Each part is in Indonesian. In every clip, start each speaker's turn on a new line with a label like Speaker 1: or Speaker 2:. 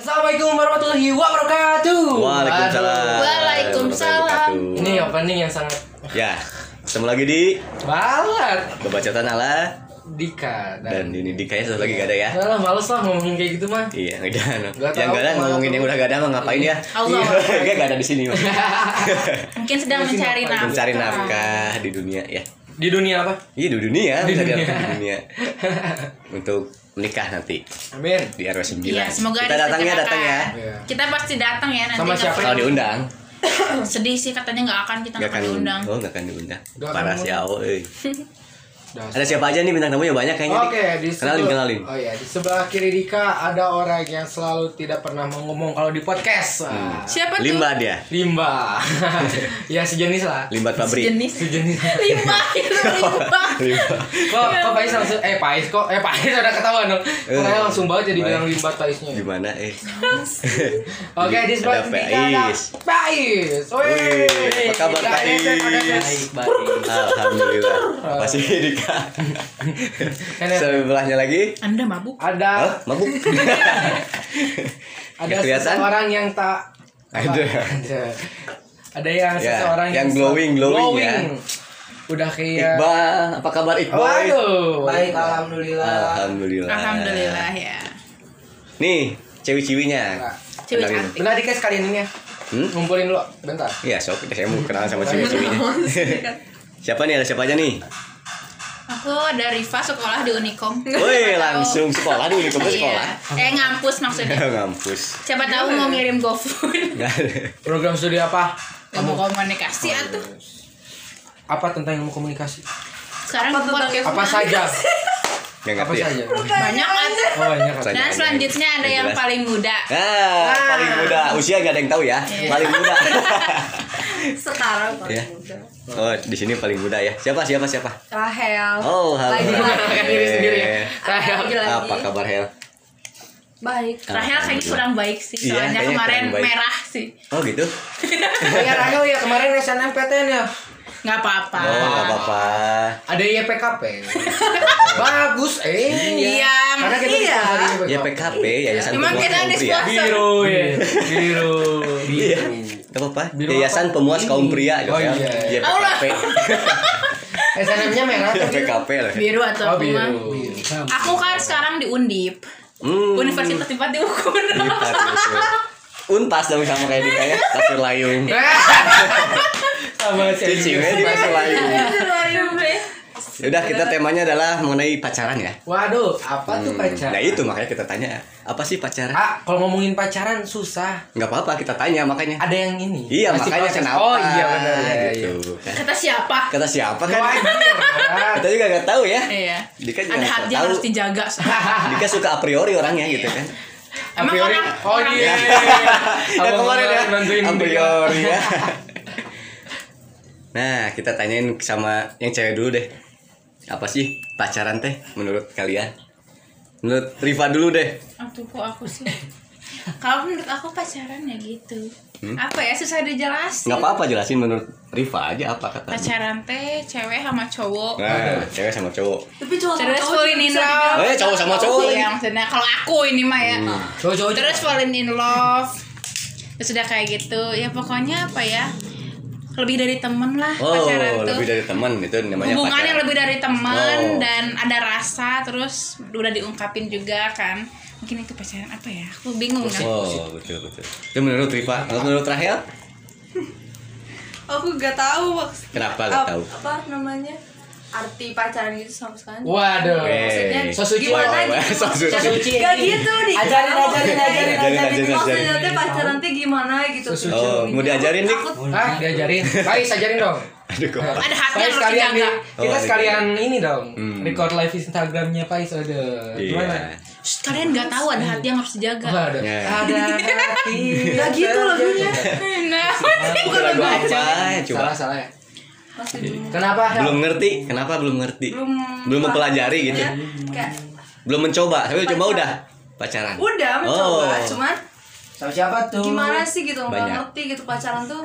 Speaker 1: Assalamualaikum warahmatullahi wabarakatuh.
Speaker 2: Waalaikumsalam.
Speaker 1: Aduh.
Speaker 3: Waalaikumsalam.
Speaker 1: Ini opening yang sangat
Speaker 2: Ya, ketemu lagi di
Speaker 1: balat
Speaker 2: Babacotan ala
Speaker 1: Dika
Speaker 2: dan
Speaker 1: dan,
Speaker 2: ini Dika ya satu lagi gak ada ya.
Speaker 1: Udah lah, males lah ngomongin kayak gitu mah.
Speaker 2: Iya, udah. no.
Speaker 1: Gak
Speaker 2: yang
Speaker 1: tahu,
Speaker 2: gak ada
Speaker 1: malu.
Speaker 2: ngomongin yang udah gak ada mah ngapain ya?
Speaker 3: Allah.
Speaker 2: Iya, dia gak ada di sini. mah.
Speaker 3: Mungkin sedang
Speaker 1: Mungkin
Speaker 3: mencari
Speaker 1: apa?
Speaker 3: nafkah.
Speaker 2: Mencari nafkah di dunia ya.
Speaker 1: Di dunia apa?
Speaker 2: Iya, di dunia,
Speaker 1: Di
Speaker 2: bisa
Speaker 1: dunia.
Speaker 2: dilakukan di dunia. Untuk menikah nanti
Speaker 1: Amin.
Speaker 2: di RW 9.
Speaker 3: Iya, semoga
Speaker 2: Kita datang ya,
Speaker 3: diselenggarakan.
Speaker 2: datang ya.
Speaker 1: Iya.
Speaker 3: Kita pasti datang ya nanti.
Speaker 1: Sama
Speaker 3: nggak
Speaker 1: siapa?
Speaker 2: Kalau
Speaker 3: perlu.
Speaker 2: diundang,
Speaker 3: Sedih sih katanya nggak akan kita
Speaker 2: gak
Speaker 3: nggak akan
Speaker 2: akan
Speaker 3: diundang.
Speaker 2: Oh, gak akan diundang.
Speaker 1: Nggak akan
Speaker 2: Parah
Speaker 1: diundang.
Speaker 2: sih Awo, euy.
Speaker 1: Dah.
Speaker 2: Ada siapa aja nih bintang tamunya banyak kayaknya. nih.
Speaker 1: Oke, di
Speaker 2: Kenalin,
Speaker 1: sebelah-
Speaker 2: kenalin.
Speaker 1: Oh iya, di sebelah kiri Dika ada orang yang selalu tidak pernah mau ngomong kalau di podcast.
Speaker 2: Hmm.
Speaker 1: Wah.
Speaker 3: Siapa tuh?
Speaker 2: Limba dia.
Speaker 1: Limba. ya sejenis lah.
Speaker 2: Limbat pabrik.
Speaker 3: Sejenis.
Speaker 1: Sejenis.
Speaker 3: Lima itu lima.
Speaker 2: Limba.
Speaker 1: Kok kok Pais langsung eh Pais kok eh Pais udah ketahuan dong. Karena langsung banget jadi bilang limbat Paisnya.
Speaker 2: Eh. Gimana eh?
Speaker 1: Oke,
Speaker 2: Jadi
Speaker 1: di sebelah
Speaker 2: ada
Speaker 1: ketiga ada
Speaker 2: Faiz.
Speaker 1: Faiz. Wih,
Speaker 2: Wih, apa kabar,
Speaker 1: Kak
Speaker 2: Faiz?
Speaker 1: Eden, ada Faiz.
Speaker 2: Alhamdulillah. Masih Dika. Sebelahnya lagi.
Speaker 3: Anda mabuk?
Speaker 1: Ada
Speaker 2: Hah? Mabuk.
Speaker 1: ada
Speaker 2: Nggak kelihatan?
Speaker 1: seseorang yang tak
Speaker 2: Ada.
Speaker 1: ada. Ada yang
Speaker 2: Ya,
Speaker 1: seseorang
Speaker 2: yang glowing, glowing ya.
Speaker 1: Udah kayak
Speaker 2: Iqbal, apa kabar Iqbal?
Speaker 1: Iya. Waduh.
Speaker 4: Baik, alhamdulillah.
Speaker 2: Alhamdulillah.
Speaker 3: Alhamdulillah ya.
Speaker 2: Nih, cewek-ceweknya. Kenalin.
Speaker 3: Cewek ah. cantik.
Speaker 1: Benar dikasih sekalian ini ya.
Speaker 2: Hmm?
Speaker 1: Ngumpulin lo bentar.
Speaker 2: Iya, sok. Udah, Saya mau kenalan sama cewek-ceweknya. siapa nih? Ada siapa aja nih?
Speaker 3: Aku ada Riva sekolah di Unikom.
Speaker 2: Woi, langsung sekolah dulu. Kamu sekolah?
Speaker 3: Iya. Eh ngampus maksudnya.
Speaker 2: Ngampus.
Speaker 3: Siapa tahu mau ngirim GoFood.
Speaker 2: Nggak ada.
Speaker 1: Program studi apa?
Speaker 3: Kamu komunikasi atau
Speaker 1: Apa tentang ilmu komunikasi?
Speaker 3: sekarang podcast
Speaker 1: Apa saja?
Speaker 2: Nggak
Speaker 1: Apa
Speaker 2: ngerti ya?
Speaker 1: saja?
Speaker 3: banyak atau
Speaker 1: Oh, banyak.
Speaker 2: Saja.
Speaker 3: Dan selanjutnya ada yang
Speaker 2: Jelas.
Speaker 3: paling muda.
Speaker 2: Ah, paling muda. Usia nggak ada yang tahu ya.
Speaker 3: Iya.
Speaker 2: Paling muda.
Speaker 5: sekarang
Speaker 2: ya. Oh, di sini paling muda ya. Siapa siapa siapa?
Speaker 5: Rahel
Speaker 2: Oh, halo.
Speaker 5: Lagi
Speaker 2: Rahel.
Speaker 1: Sendiri sendiri ya. Rahel.
Speaker 5: lagi lagi
Speaker 2: Apa kabar Hel?
Speaker 5: baik
Speaker 3: Rahel kayaknya kurang baik sih,
Speaker 2: Iya,
Speaker 3: soalnya
Speaker 2: kayaknya
Speaker 3: kemarin
Speaker 2: kurang baik.
Speaker 3: merah sih.
Speaker 2: Oh, gitu.
Speaker 1: Kayak Rahel ya kemarin SNMPTN ya.
Speaker 3: Nggak apa-apa.
Speaker 2: Oh, nggak apa-apa.
Speaker 1: Ada YPKP. Bagus eh.
Speaker 3: Iya,
Speaker 1: Karena kita
Speaker 3: iya.
Speaker 1: disponsori YPKP.
Speaker 2: Ya PKP, Yayasan
Speaker 3: Emang
Speaker 2: Pemuas
Speaker 3: kita
Speaker 2: Kaum Pria.
Speaker 3: disponsori?
Speaker 1: Biru ya. Biru.
Speaker 2: Iya. Gak apa-apa.
Speaker 1: Biru
Speaker 2: Yayasan
Speaker 1: apa?
Speaker 2: Pemuas Kaum Pria
Speaker 1: Oh,
Speaker 2: Hel.
Speaker 1: iya.
Speaker 2: Ya
Speaker 3: Allah.
Speaker 2: PKP.
Speaker 1: SNM-nya merah
Speaker 2: Ya
Speaker 1: tuh. biru.
Speaker 2: PKP lah.
Speaker 3: Biru atau
Speaker 1: Oh,
Speaker 3: apa mah?
Speaker 1: biru.
Speaker 3: Aku kan sekarang di Undip.
Speaker 2: Hmm.
Speaker 3: Universitas tempat di
Speaker 2: Lipat, usul. Unpas dong sama kayak Dika ya. Kasur layung.
Speaker 1: Sama si
Speaker 2: Ciciwnya di kasur layung.
Speaker 3: Udah
Speaker 2: Yaudah, kita temanya adalah mengenai pacaran ya.
Speaker 1: Waduh, apa tuh pacaran?
Speaker 2: Nah itu makanya kita tanya apa sih pacaran?
Speaker 1: Ah, kalau ngomongin pacaran susah.
Speaker 2: Nggak apa-apa kita tanya makanya.
Speaker 1: Ada yang ini.
Speaker 2: Iya
Speaker 1: Masih
Speaker 2: makanya
Speaker 1: proses.
Speaker 2: kenapa?
Speaker 1: Oh iya benar. Iya,
Speaker 2: gitu. kan.
Speaker 3: Kata siapa?
Speaker 2: Kata siapa
Speaker 1: iya.
Speaker 2: kan?
Speaker 1: Wajar.
Speaker 2: Kita juga nggak tahu ya.
Speaker 3: Iya.
Speaker 2: Dika juga
Speaker 3: Ada
Speaker 2: nggak
Speaker 3: hak yang
Speaker 2: tahu.
Speaker 3: harus dijaga.
Speaker 2: Dika suka a priori orangnya gitu kan.
Speaker 1: A
Speaker 3: Emang
Speaker 1: priori-
Speaker 3: orang
Speaker 1: Oh
Speaker 3: orang-
Speaker 1: iya.
Speaker 2: Yang
Speaker 1: Abang
Speaker 2: kemarin ya.
Speaker 1: bantuin
Speaker 2: A
Speaker 1: dia.
Speaker 2: priori ya. Nah kita tanyain sama yang cewek dulu deh. Apa sih pacaran teh menurut kalian? Menurut Riva dulu deh.
Speaker 3: Aduh kok aku sih. Kalau menurut aku pacaran ya gitu. Apa ya susah
Speaker 2: Hmm?
Speaker 3: dijelasin.
Speaker 2: Nggak apa-apa jelasin menurut Riva aja apa kata.
Speaker 3: Pacaran teh cewek sama cowok.
Speaker 2: Nah, cewek sama cowok.
Speaker 5: tapi cowok
Speaker 3: Terus falling in love.
Speaker 2: Eh, cowok sama cowok lagi. Hmm.
Speaker 3: Iya, maksudnya kalau aku ini mah ya.
Speaker 1: Cowok-cowok
Speaker 3: Terus falling in love. Terus udah kayak gitu. Ya pokoknya apa ya? Lebih dari temen lah
Speaker 2: Oh,
Speaker 3: pacaran tuh.
Speaker 2: lebih dari teman itu namanya
Speaker 3: Hubungan
Speaker 2: pacaran.
Speaker 3: yang lebih dari teman
Speaker 2: Oh.
Speaker 3: dan ada rasa terus udah diungkapin juga kan. Mungkin itu pacaran apa ya? Aku bingung kan.
Speaker 2: Oh, betul betul. Itu menurut Riva, Kalau menurut Rahel,
Speaker 5: aku gak tahu maksud-
Speaker 2: Kenapa nggak
Speaker 5: ap-
Speaker 2: tahu?
Speaker 5: apa namanya arti pacaran gitu sama sekali
Speaker 1: Waduh.
Speaker 5: Maksudnya
Speaker 2: Eh,
Speaker 1: so suci.
Speaker 5: gimana
Speaker 2: Oh, Wah, wah,
Speaker 5: gitu
Speaker 2: so suci.
Speaker 5: Gak-
Speaker 1: So suci.
Speaker 5: Gak gitu
Speaker 1: Ajarin,
Speaker 5: nih
Speaker 1: ajarin,
Speaker 2: ajarin,
Speaker 1: ajarin,
Speaker 2: ajarin.
Speaker 5: Maksudnya teh pacaran teh gimana gitu
Speaker 1: So suci.
Speaker 2: Oh, mau diajarin, Dik?
Speaker 5: Aku-
Speaker 1: Hah, diajarin. Baik, ajarin dong.
Speaker 2: aduh kok.
Speaker 3: Ada hati
Speaker 1: Pais
Speaker 3: yang harus
Speaker 1: sekalian
Speaker 3: dijaga.
Speaker 1: nih. Kita
Speaker 2: Oh,
Speaker 1: sekalian ini dong.
Speaker 2: Hmm.
Speaker 1: Record live Instagramnya Pais ada.
Speaker 2: Iya.
Speaker 1: Gimana?
Speaker 3: Shh, kalian nggak tahu ada hati yang harus dijaga
Speaker 1: Enggak ada.
Speaker 2: Ya.
Speaker 1: Ada hati.
Speaker 5: Gak gitu lagunya.
Speaker 3: nah
Speaker 2: Bukan lagu apa? Coba.
Speaker 1: Salah salah ya.
Speaker 5: Masih belum.
Speaker 1: Kenapa? Hel?
Speaker 2: Belum ngerti. Kenapa belum ngerti?
Speaker 5: Belum
Speaker 2: Belum mempelajari gitu.
Speaker 5: Ya, Kayak
Speaker 2: Belum mencoba. Tapi coba
Speaker 5: Pacaran.
Speaker 2: udah pacaran.
Speaker 5: udah mencoba,
Speaker 2: Oh.
Speaker 5: cuman
Speaker 1: Sama siapa tuh?
Speaker 5: gimana sih gitu nggak
Speaker 2: Banyak.
Speaker 5: ngerti gitu pacaran tuh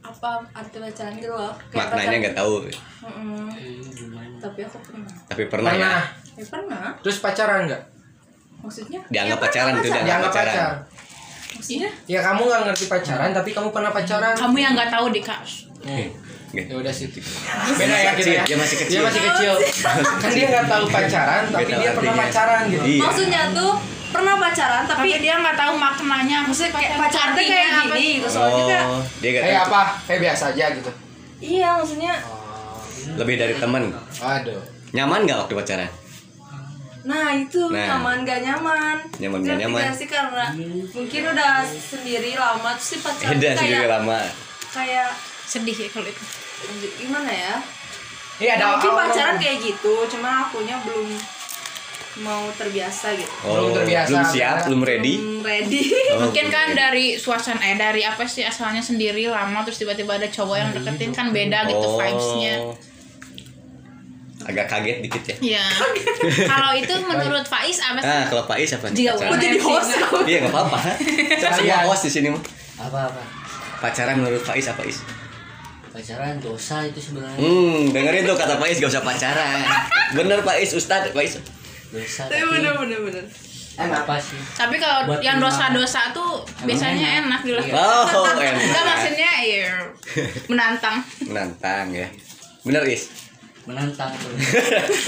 Speaker 5: apa arti pacaran gitu loh. Kayak
Speaker 2: Maknanya
Speaker 5: pacaran-
Speaker 2: nggak tahu.
Speaker 5: Mm-mm. Tapi aku pernah.
Speaker 2: Tapi pernah, ya.
Speaker 1: Pernah.
Speaker 5: Ya pernah.
Speaker 1: Terus pacaran enggak?
Speaker 5: Maksudnya?
Speaker 2: Dianggap
Speaker 5: Ya,
Speaker 2: pacaran tuh dianggap
Speaker 1: Dianggap
Speaker 2: pacaran.
Speaker 1: pacaran.
Speaker 5: Maksudnya?
Speaker 1: Ya kamu nggak ngerti pacaran, tapi kamu pernah pacaran.
Speaker 3: kamu yang nggak tahu deh kak
Speaker 1: Hmm.
Speaker 2: Nggak.
Speaker 1: Ya udah sih. Beda ya kita
Speaker 2: kecil,
Speaker 1: ya.
Speaker 2: dia masih kecil.
Speaker 1: Dia masih kecil. kan dia nggak tahu pacaran, tapi
Speaker 2: Beda
Speaker 1: dia pernah
Speaker 2: artinya.
Speaker 1: pacaran gitu.
Speaker 2: Iya.
Speaker 5: Maksudnya tuh pernah pacaran tapi
Speaker 3: tapi dia nggak tahu maknanya maksudnya kayak
Speaker 5: pacaran tuh
Speaker 3: artinya
Speaker 5: kayak
Speaker 3: apa
Speaker 5: gini gitu soalnya kayak
Speaker 2: Oh, dia nggak
Speaker 1: Kayak
Speaker 2: tahu.
Speaker 1: apa? Kayak biasa aja gitu.
Speaker 5: iya maksudnya
Speaker 2: Lebih dari teman.
Speaker 1: Aduh.
Speaker 2: Nyaman nggak waktu pacaran?
Speaker 5: nah itu
Speaker 2: Nah.
Speaker 5: nyaman gak nyaman
Speaker 2: Nyaman nggak
Speaker 5: Ngerti
Speaker 2: nyaman.
Speaker 5: nggak sih karena mungkin udah sendiri lama terus si pacaran
Speaker 2: Beda
Speaker 5: tuh
Speaker 2: sih
Speaker 5: kayak
Speaker 2: lama.
Speaker 5: kayak
Speaker 3: sedih ya kalau itu
Speaker 5: gimana ya
Speaker 1: Iya ada
Speaker 5: mungkin
Speaker 1: orang-
Speaker 5: pacaran kayak gitu cuman akunya belum mau terbiasa gitu
Speaker 1: Belum terbiasa,
Speaker 2: Oh, belum siap,
Speaker 1: karena-
Speaker 2: belum ready.
Speaker 5: belum ready
Speaker 2: Oh,
Speaker 3: mungkin
Speaker 2: belum
Speaker 3: kan
Speaker 2: ready.
Speaker 3: dari suasana eh dari apa sih asalnya sendiri lama terus tiba-tiba ada cowok yang deketin kan beda
Speaker 2: Nah,
Speaker 3: gitu
Speaker 2: iya, Oh.
Speaker 3: vibesnya
Speaker 2: Agak kaget dikit ya.
Speaker 3: ya kalau itu menurut Faiz apa sih
Speaker 2: Nah, kalau Faiz apa nih?
Speaker 3: Jika
Speaker 2: Pacaran.
Speaker 5: Aku jadi host
Speaker 2: Iya, enggak apa-apa. Semua
Speaker 1: Kalian.
Speaker 2: host di sini mah.
Speaker 4: apa-apa
Speaker 2: Pacaran menurut Faiz apa Is?
Speaker 4: pacaran dosa itu sebenarnya
Speaker 2: Hmm, dengerin tuh kata Faiz gak usah pacaran. Bener Faiz, Ustad Faiz.
Speaker 4: dosa
Speaker 5: tapi
Speaker 4: tapi
Speaker 5: bener bener bener
Speaker 4: apa sih
Speaker 3: tapi kalau
Speaker 4: Buat
Speaker 3: yang
Speaker 4: lima.
Speaker 3: dosa-dosa tuh biasanya enak, dilakukan
Speaker 2: Oh, enak.
Speaker 3: Enggak maksudnya ya menantang
Speaker 2: Menantang ya. Bener Is.
Speaker 4: menantang tuh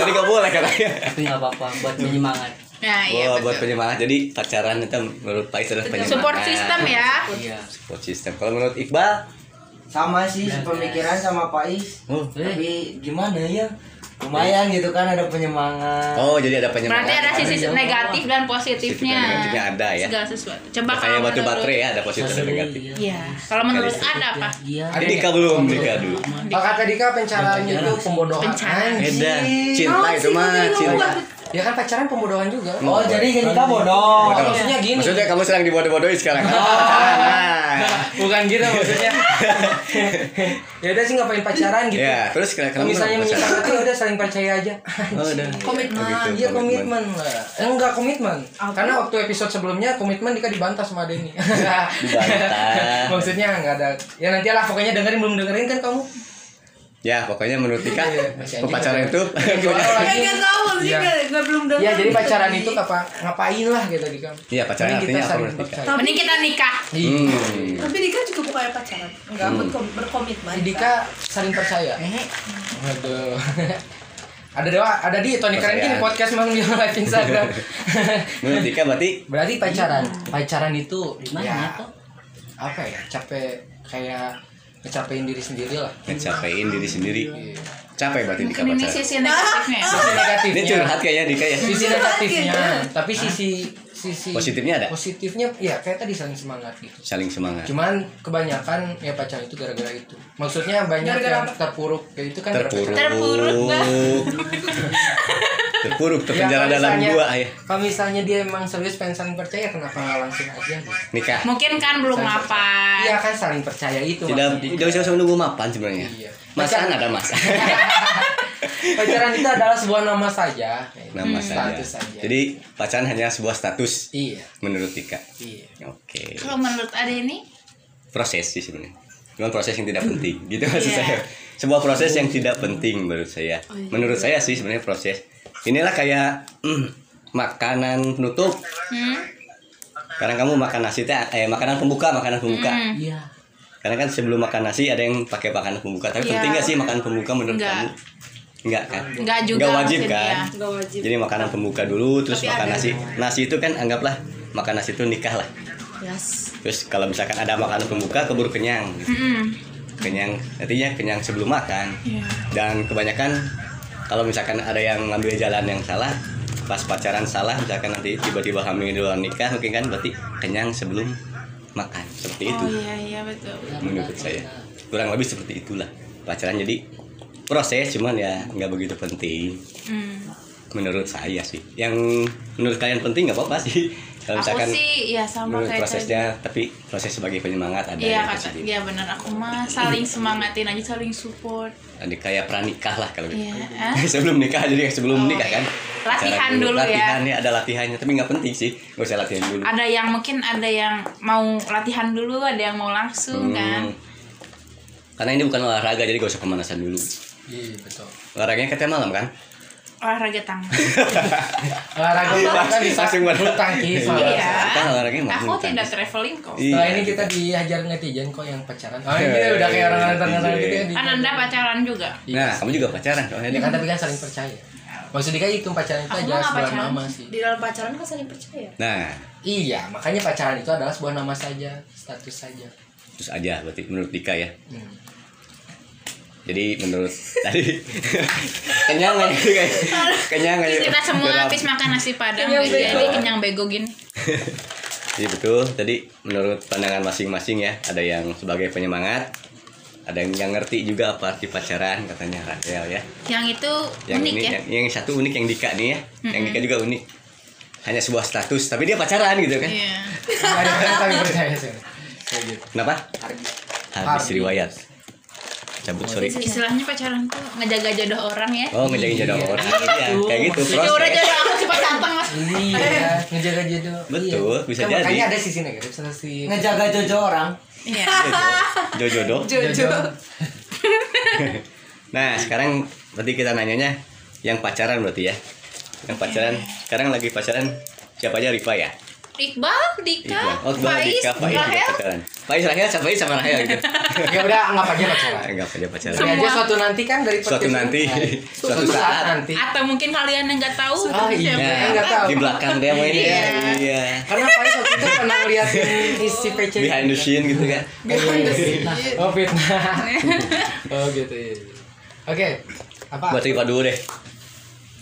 Speaker 2: Tadi gak boleh katanya.
Speaker 4: tapi nggak apa-apa buat penyemangat
Speaker 3: ya iya
Speaker 2: Wah, buat
Speaker 3: betul
Speaker 2: penyemangat. Jadi pacaran itu menurut Faiz adalah penyemangat.
Speaker 3: support system ya
Speaker 4: iya
Speaker 2: Support system. Kalau menurut Iqbal,
Speaker 6: sama sih
Speaker 4: Dan
Speaker 6: pemikiran sama Pais
Speaker 2: oh,
Speaker 4: Eh? Iya.
Speaker 6: tapi gimana ya lumayan gitu kan ada penyemangat
Speaker 2: oh jadi ada penyemangat.
Speaker 3: berarti ada sisi negatif dan positifnya
Speaker 2: Positif dan negatifnya ada ya.
Speaker 3: segala sesuatu coba
Speaker 2: Nah,
Speaker 3: kalau
Speaker 2: kayak batu
Speaker 3: menurut-
Speaker 2: baterai ya ada positif dan negatif.
Speaker 3: Iya. Kalau menurut Anda apa?
Speaker 4: iya
Speaker 1: Ada
Speaker 2: Jadi
Speaker 3: ya?
Speaker 2: Dika belum, Dika dulu.
Speaker 1: Kalau kata Dika pacaran itu pembodohan.
Speaker 3: Pencaran.
Speaker 1: Anjing.
Speaker 2: Oh. Beda. Cinta itu mah cinta.
Speaker 1: Ya kan pacaran pembodohan juga.
Speaker 6: oh jadi gini kita
Speaker 3: Oh,
Speaker 6: bodoh
Speaker 2: Bodoh.
Speaker 1: Maksudnya gini.
Speaker 2: Maksudnya kamu sedang dibodoh-bodohin sekarang. Nah.
Speaker 1: Bukan gitu maksudnya. ya udah sih ngapain pacaran gitu.
Speaker 2: Ya, terus kira
Speaker 1: Kalau misalnya menyikati udah saling percaya aja.
Speaker 2: Oh, udah.
Speaker 5: Komitmen.
Speaker 2: Oh, gitu,
Speaker 1: Iya komitmen lah. Eh, enggak komitmen. Karena waktu episode sebelumnya komitmen Dika dibantah sama Denny.
Speaker 2: Dibantah.
Speaker 1: Maksudnya enggak ada. Ya nanti lah pokoknya dengerin belum dengerin kan kamu.
Speaker 2: Ya, pokoknya menurut Dika
Speaker 1: Iya, masih anjing.
Speaker 2: pacaran itu
Speaker 1: Jualan lagi.
Speaker 5: kayak gak tau maksudnya
Speaker 1: Iya.
Speaker 5: nggak nggak belum dengar
Speaker 1: Iya, jadi
Speaker 5: gitu
Speaker 1: pacaran
Speaker 5: tadi.
Speaker 1: itu apa ngapain lah gitu Dika.
Speaker 2: Iya, pacaran
Speaker 1: Mending
Speaker 2: artinya
Speaker 1: kita
Speaker 2: apa
Speaker 1: saling
Speaker 2: menurut Dika?
Speaker 1: percaya.
Speaker 5: Tapi-
Speaker 3: Mending kita nikah.
Speaker 2: Hmm.
Speaker 5: Tapi Dika juga bukannya pacaran, enggak berkom- berkomitmen.
Speaker 1: Si Hmm. Dika saling percaya. Aduh. ada dewa, ada di
Speaker 2: Percayaan.
Speaker 1: Tony Karentin podcast mang di live Instagram.
Speaker 2: Menurut Dika berarti
Speaker 1: Berarti pacaran, pacaran itu
Speaker 4: gimana tuh
Speaker 1: apa ya? Capek kayak ngecapein diri sendiri lah.
Speaker 2: ngecapein diri sendiri.
Speaker 1: Iya.
Speaker 2: Capek berarti Dika
Speaker 3: Ini
Speaker 2: pacaran.
Speaker 3: sisi negatifnya ya.
Speaker 1: Sisi
Speaker 2: Ini
Speaker 1: negatifnya.
Speaker 2: curhat kayaknya Dika ya.
Speaker 1: Sisi negatifnya, tapi sisi sisi
Speaker 2: Positifnya ada?
Speaker 1: Positifnya ya kayak tadi saling semangat gitu.
Speaker 2: Saling semangat.
Speaker 1: Cuman kebanyakan ya pacaran itu gara-gara itu. Maksudnya banyak yang terpuruk kayak itu kan gara-gara
Speaker 2: Terpuruk.
Speaker 1: pacaran.
Speaker 2: Terpuruk, terpenjara
Speaker 1: Ya, kalau
Speaker 2: dalam
Speaker 1: misalnya-
Speaker 2: gua ayah.
Speaker 1: Kalau misalnya dia emang serius pengen saling percaya kenapa nggak langsung aja? gitu?
Speaker 2: Nikah.
Speaker 3: Mungkin kan belum
Speaker 1: Iya
Speaker 3: apa.
Speaker 1: kan saling percaya itu.
Speaker 2: Tidak
Speaker 1: maksudnya.
Speaker 2: tidak usah usah menunggu mapan sebenarnya.
Speaker 1: Iya.
Speaker 2: Masan ada mas.
Speaker 1: Pacaran itu adalah sebuah nama saja.
Speaker 2: Nama saja.
Speaker 1: Status saja.
Speaker 2: Nah, Jadi pacaran hanya sebuah status
Speaker 1: Iya.
Speaker 2: menurut Dika.
Speaker 1: Iya.
Speaker 2: Oke.
Speaker 3: Kalau menurut Ade ini
Speaker 2: Proses sih sebenarnya. Cuman proses yang tidak penting gitu maksud
Speaker 3: Iya. Oh,
Speaker 2: saya. Sebuah proses yang tidak penting menurut saya. Menurut saya sih sebenarnya proses. Inilah kayak mm, makanan penutup.
Speaker 3: hmm,
Speaker 2: Karena kamu makan nasi teh eh makanan pembuka, makanan pembuka.
Speaker 3: Hmm.
Speaker 4: iya
Speaker 2: Karena kan sebelum makan nasi ada yang pakai makanan pembuka. Tapi
Speaker 3: Iya.
Speaker 2: penting gak sih makanan pembuka menurut
Speaker 3: Enggak.
Speaker 2: kamu? Enggak kan?
Speaker 3: nggak juga
Speaker 2: Nggak wajib
Speaker 3: maksudnya.
Speaker 2: kan?
Speaker 5: Enggak wajib.
Speaker 2: Jadi makanan pembuka dulu terus
Speaker 3: Tapi
Speaker 2: makan
Speaker 3: ada.
Speaker 2: nasi. Nasi itu kan anggaplah makan nasi itu nikah lah.
Speaker 3: Yes.
Speaker 2: Terus kalau misalkan ada makanan pembuka keburu kenyang. gitu.
Speaker 3: Mm-mm.
Speaker 2: Kenyang artinya kenyang sebelum makan.
Speaker 3: Iya.
Speaker 2: Dan kebanyakan kalau misalkan ada yang ngambil jalan yang salah pas pacaran salah misalkan nanti tiba-tiba hamil di luar nikah mungkin kan berarti kenyang sebelum makan seperti itu
Speaker 3: Oh iya iya betul.
Speaker 2: menurut saya kurang lebih seperti itulah pacaran jadi proses cuman ya nggak begitu penting
Speaker 3: Hmm.
Speaker 2: menurut saya sih yang menurut kalian penting nggak apa-apa sih kalau
Speaker 3: aku
Speaker 2: misalkan
Speaker 3: sih ya sama
Speaker 2: menurut
Speaker 3: kayak tadi.
Speaker 2: prosesnya tapi proses sebagai penyemangat ada yang gitu.
Speaker 3: Iya kata,
Speaker 2: positif Mm.
Speaker 3: iya benar aku mah saling semangatin aja saling support.
Speaker 2: ada kayak pranikah lah kalau gitu.
Speaker 3: Iya. ah.
Speaker 2: sebelum nikah jadi sebelum
Speaker 3: Oh.
Speaker 2: nikah kan
Speaker 3: Latihan
Speaker 2: Cara-
Speaker 3: dulu ya.
Speaker 2: latihannya ada latihannya tapi nggak penting sih nggak usah latihan dulu
Speaker 3: Ada yang mungkin ada yang mau latihan dulu, ada yang mau langsung kan.
Speaker 2: Hmm. karena ini bukan olahraga jadi gak usah pemanasan dulu
Speaker 1: Iya betul.
Speaker 2: olahraganya katanya malam kan
Speaker 3: Olahraga tangan.
Speaker 1: Olahraga bola kan bisa
Speaker 2: Iya, Langsung bola.
Speaker 1: bulu tangkis.
Speaker 2: Iya.
Speaker 1: olahraga.
Speaker 2: Kan olahraganya malam,
Speaker 3: Aku
Speaker 2: kan?
Speaker 3: tidak traveling kok.
Speaker 2: Iya.
Speaker 1: Setelah ini kita dihajar netizen kok yang pacaran. Oh iya udah kayak orang-orang terkenal gitu
Speaker 2: iya.
Speaker 1: ya. di-
Speaker 3: Kan Anda pacaran juga.
Speaker 2: nah kamu juga pacaran soalnya
Speaker 1: Ya kan tapi kan saling percaya. Maksudnya kan itu pacaran itu
Speaker 3: Aku
Speaker 1: aja
Speaker 3: mah nggak
Speaker 1: sebuah
Speaker 3: pacaran
Speaker 1: nama sih.
Speaker 5: Di dalam pacaran kan saling percaya.
Speaker 2: nah
Speaker 1: Iya, makanya pacaran itu adalah sebuah nama saja, status saja.
Speaker 2: terus aja berarti menurut Dika ya
Speaker 1: Hmm.
Speaker 2: jadi menurut tadi kenyang aja kayak ya? kenyang ya? aja
Speaker 3: Kita semua
Speaker 2: Gelap.
Speaker 3: habis makan nasi padang
Speaker 5: Kenyang
Speaker 3: jadi
Speaker 5: bego.
Speaker 3: kenyang bego gini.
Speaker 2: Iya betul. Tadi menurut pandangan masing-masing ya, ada yang sebagai penyemangat, ada yang nggak ngerti juga apa arti pacaran katanya Rafael ya.
Speaker 3: Yang itu
Speaker 2: Yang
Speaker 3: unik
Speaker 2: ini,
Speaker 3: ya.
Speaker 2: Yang, yang satu unik, yang Dika nih ya. Yang Dika juga unik. Hanya sebuah status, tapi dia pacaran gitu kan.
Speaker 3: Iya.
Speaker 1: Ada kan saling percaya sih. Kayak gitu.
Speaker 2: Kenapa? Habis
Speaker 1: Harbi.
Speaker 2: riwayat. Cabut sorry.
Speaker 3: Istilahnya pacaran tuh ngejaga jodoh orang ya.
Speaker 2: Oh ngejagain jodoh orang Iya, kayak gitu
Speaker 3: Ya udah
Speaker 2: proses.
Speaker 3: jodoh aku cepat datang mas.
Speaker 1: Iya, ngejaga jodoh.
Speaker 2: Betul, bisa
Speaker 1: Kan Makanya
Speaker 2: jadi.
Speaker 1: ada sisi negatif, sama sisi
Speaker 6: Ngejaga jojo orang.
Speaker 3: Iya.
Speaker 2: Jodoh. Jodoh.
Speaker 1: jodoh.
Speaker 2: Nah sekarang berarti kita nanyanya yang pacaran berarti ya yang pacaran sekarang lagi pacaran siapa aja Rifa ya
Speaker 3: Iqbal, Dika,
Speaker 2: Iqbal. oh, Iqbal,
Speaker 3: Faiz,
Speaker 2: Dika, Faiz juga
Speaker 3: Rahel,
Speaker 2: pacaran Faiz Rahel siapa Faiz sama Rahel gitu Ah,
Speaker 1: Ya udah anggap aja pacaran.
Speaker 2: anggap aja pacaran
Speaker 1: Ini aja
Speaker 3: Semua.
Speaker 1: suatu nanti kan dari
Speaker 2: suatu
Speaker 1: podcast
Speaker 2: nanti
Speaker 1: ini.
Speaker 2: suatu saat
Speaker 1: nanti.
Speaker 3: atau mungkin kalian yang nggak tahu
Speaker 1: Ah, iya.
Speaker 3: siapa
Speaker 1: Nah.
Speaker 3: yang
Speaker 1: Nggak tahu.
Speaker 2: di belakang dia main
Speaker 3: Iya.
Speaker 2: ya iya
Speaker 1: Karena Faiz waktu itu pernah ngeliatin isi PC.
Speaker 2: behind the scene gitu kan
Speaker 1: Oh fitnah. oh gitu ya. Oke. Apa?
Speaker 2: buat Rifa dulu deh